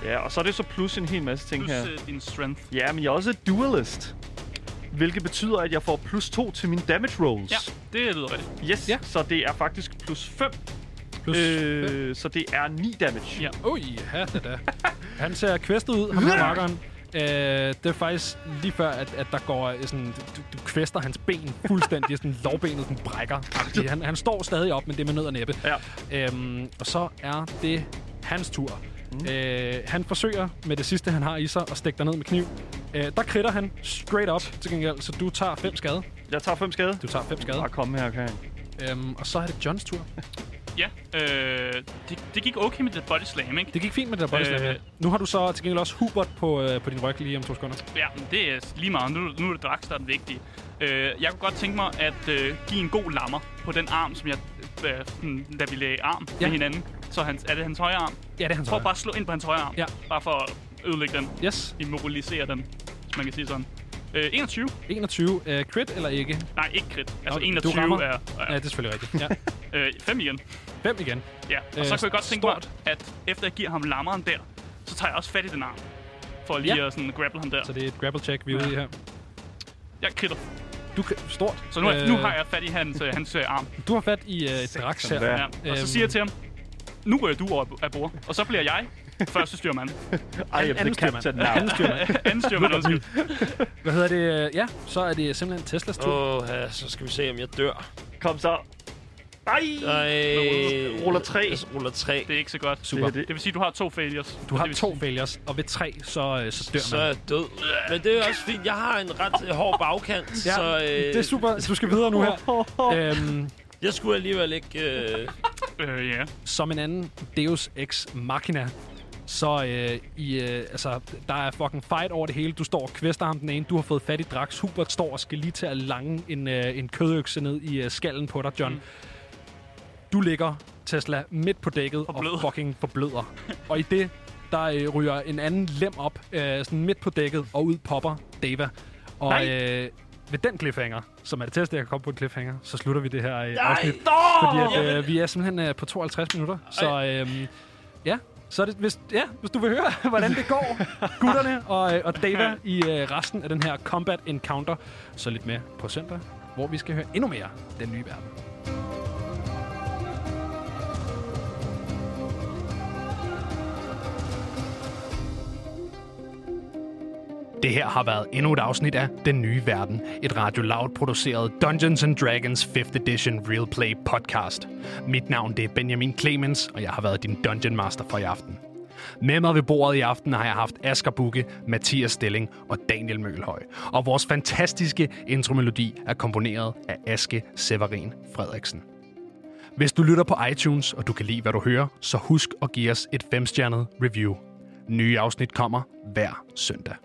Ja, og så er det så plus en hel masse ting
Plus
her.
øh, din strength.
Ja, men jeg er også dualist. Hvilket betyder, at jeg får plus 2 til mine damage rolls.
Ja, det lyder rigtigt.
Yes,
Ja.
ja. så det er faktisk plus 5.
Plus, øh.
Øh, så det er 9 damage.
Ja.
Oj, ja, det da. Han ser kvæstet ud, ham her markeren. Øh, det er faktisk lige før, at, at der går øh, sådan, du, du kvæster hans ben fuldstændig, sådan lårbenet sådan brækker. -agtigt. Han, han står stadig op, men det er med nød og næppe. Ja. Øhm, og så er det hans tur. Mm. Øh, han forsøger med det sidste, han har i sig, at stikke dig ned med kniv. Øh, der kritter han straight up til gengæld, så du tager fem skade.
Jeg tager 5 skade.
Du tager fem skade.
Bare kom her, okay.
Øhm, og så er det Johns tur.
Ja, øh, det, det gik okay med det body slam, ikke?
Det gik fint med det der body øh.
Øh.
Nu har du så til gengæld også Hubert på, øh, på din ryg lige om to sekunder.
Ja, men det er lige meget. Nu, nu er det Drax, der er den vigtige. Øh, jeg kunne godt tænke mig at øh, give en god lammer på den arm, som jeg... Øh, sådan, da vi lagde arm ja.
Ja.
med hinanden. Så hans, er det hans højre arm?
Ja, det er hans
Prøv
højre.
bare at slå ind på hans højre arm.
Ja.
Bare for at ødelægge den.
Yes.
Immobilisere den, hvis man kan sige sådan. Øh, 21?
21. Øh, crit eller ikke?
Nej, ikke crit. Altså
Nå,
okay,
du
21
rammer.
er...
Ja, det er selvfølgelig rigtigt. Ja.
Øh, 5 igen.
5 igen.
Ja, og
Øh,
øh, så kunne jeg godt tænke
stort.
mig, at efter jeg giver ham lammeren der, så tager jeg også fat i den arm. For lige
Ja.
ja. at sådan grapple ham der.
Så det er et grapple check, vi er ude i her.
Jeg kritter.
Du kan, stort.
Så nu, øh, nu har jeg fat i hans, øh, hans øh, arm.
Du har fat i øh, et draks her.
Ja. Og
Øhm.
så siger jeg til ham, nu ryger du over af bord, og så bliver jeg første styrmand.
I am the captain now.
Anden styrmand.
Anden styrmand, undskyld.
Hvad hedder det? Øh, Ja, så er det simpelthen Teslas tur.
Åh, oh, ja, så skal vi se, om jeg dør.
Kom så. Ej!
Nej.
Ruller tre.
Jeg ruller tre.
Det er ikke så godt.
Super.
Det er
Det vil sige, du har to failures.
Du har
det vil
to failures, og ved tre, så, øh, så dør
Så er
man.
jeg død. Men det er også fint. Jeg har en ret øh, hård bagkant, ja, så øh,
det er super. Du skal videre nu her. øhm,
jeg skulle alligevel ikke... Øh,
Øh, ja.
som en anden Deus Ex Machina, så øh, i, øh, altså, der er fucking fight over det hele. Du står og kvæster ham den ene, du har fået fat i Drax. Hubert står og skal lige til at lange en, øh, en kødøkse ned i øh, skallen på dig, John. Mm. Du ligger, Tesla, midt på dækket og
Forbløder.
fucking forbløder. og i det, der øh, ryger en anden lem op, øh, sådan midt på dækket, og ud popper Deva. Og
Nej.
øh, ved den cliffhanger, som er det tætteste, jeg kan komme på en cliffhanger, så slutter vi det her øh,
nej,
afsnit. Fordi at, øh, vi er simpelthen øh, på 52 minutter, så øh, ja. Så er det, hvis, ja, hvis du vil høre, hvordan det går, gutterne og, øh, og Dava i øh, resten af den her Combat Encounter, så lidt mere på søndag, hvor vi skal høre endnu mere den nye verden. Det her har været endnu et afsnit af Den Nye Verden, et Radio Loud produceret Dungeons and Dragons 5th Edition Real Play podcast. Mit navn det er Benjamin Clemens, og jeg har været din Dungeon Master for i aften. Med mig ved bordet i aften har jeg haft Asger Bukke, Mathias Stilling og Daniel Mølhøj. Og vores fantastiske intromelodi er komponeret af Aske Severin Frederiksen. Hvis du lytter på iTunes, og du kan lide, hvad du hører, så husk at give os et femstjernet review. Nye afsnit kommer hver søndag.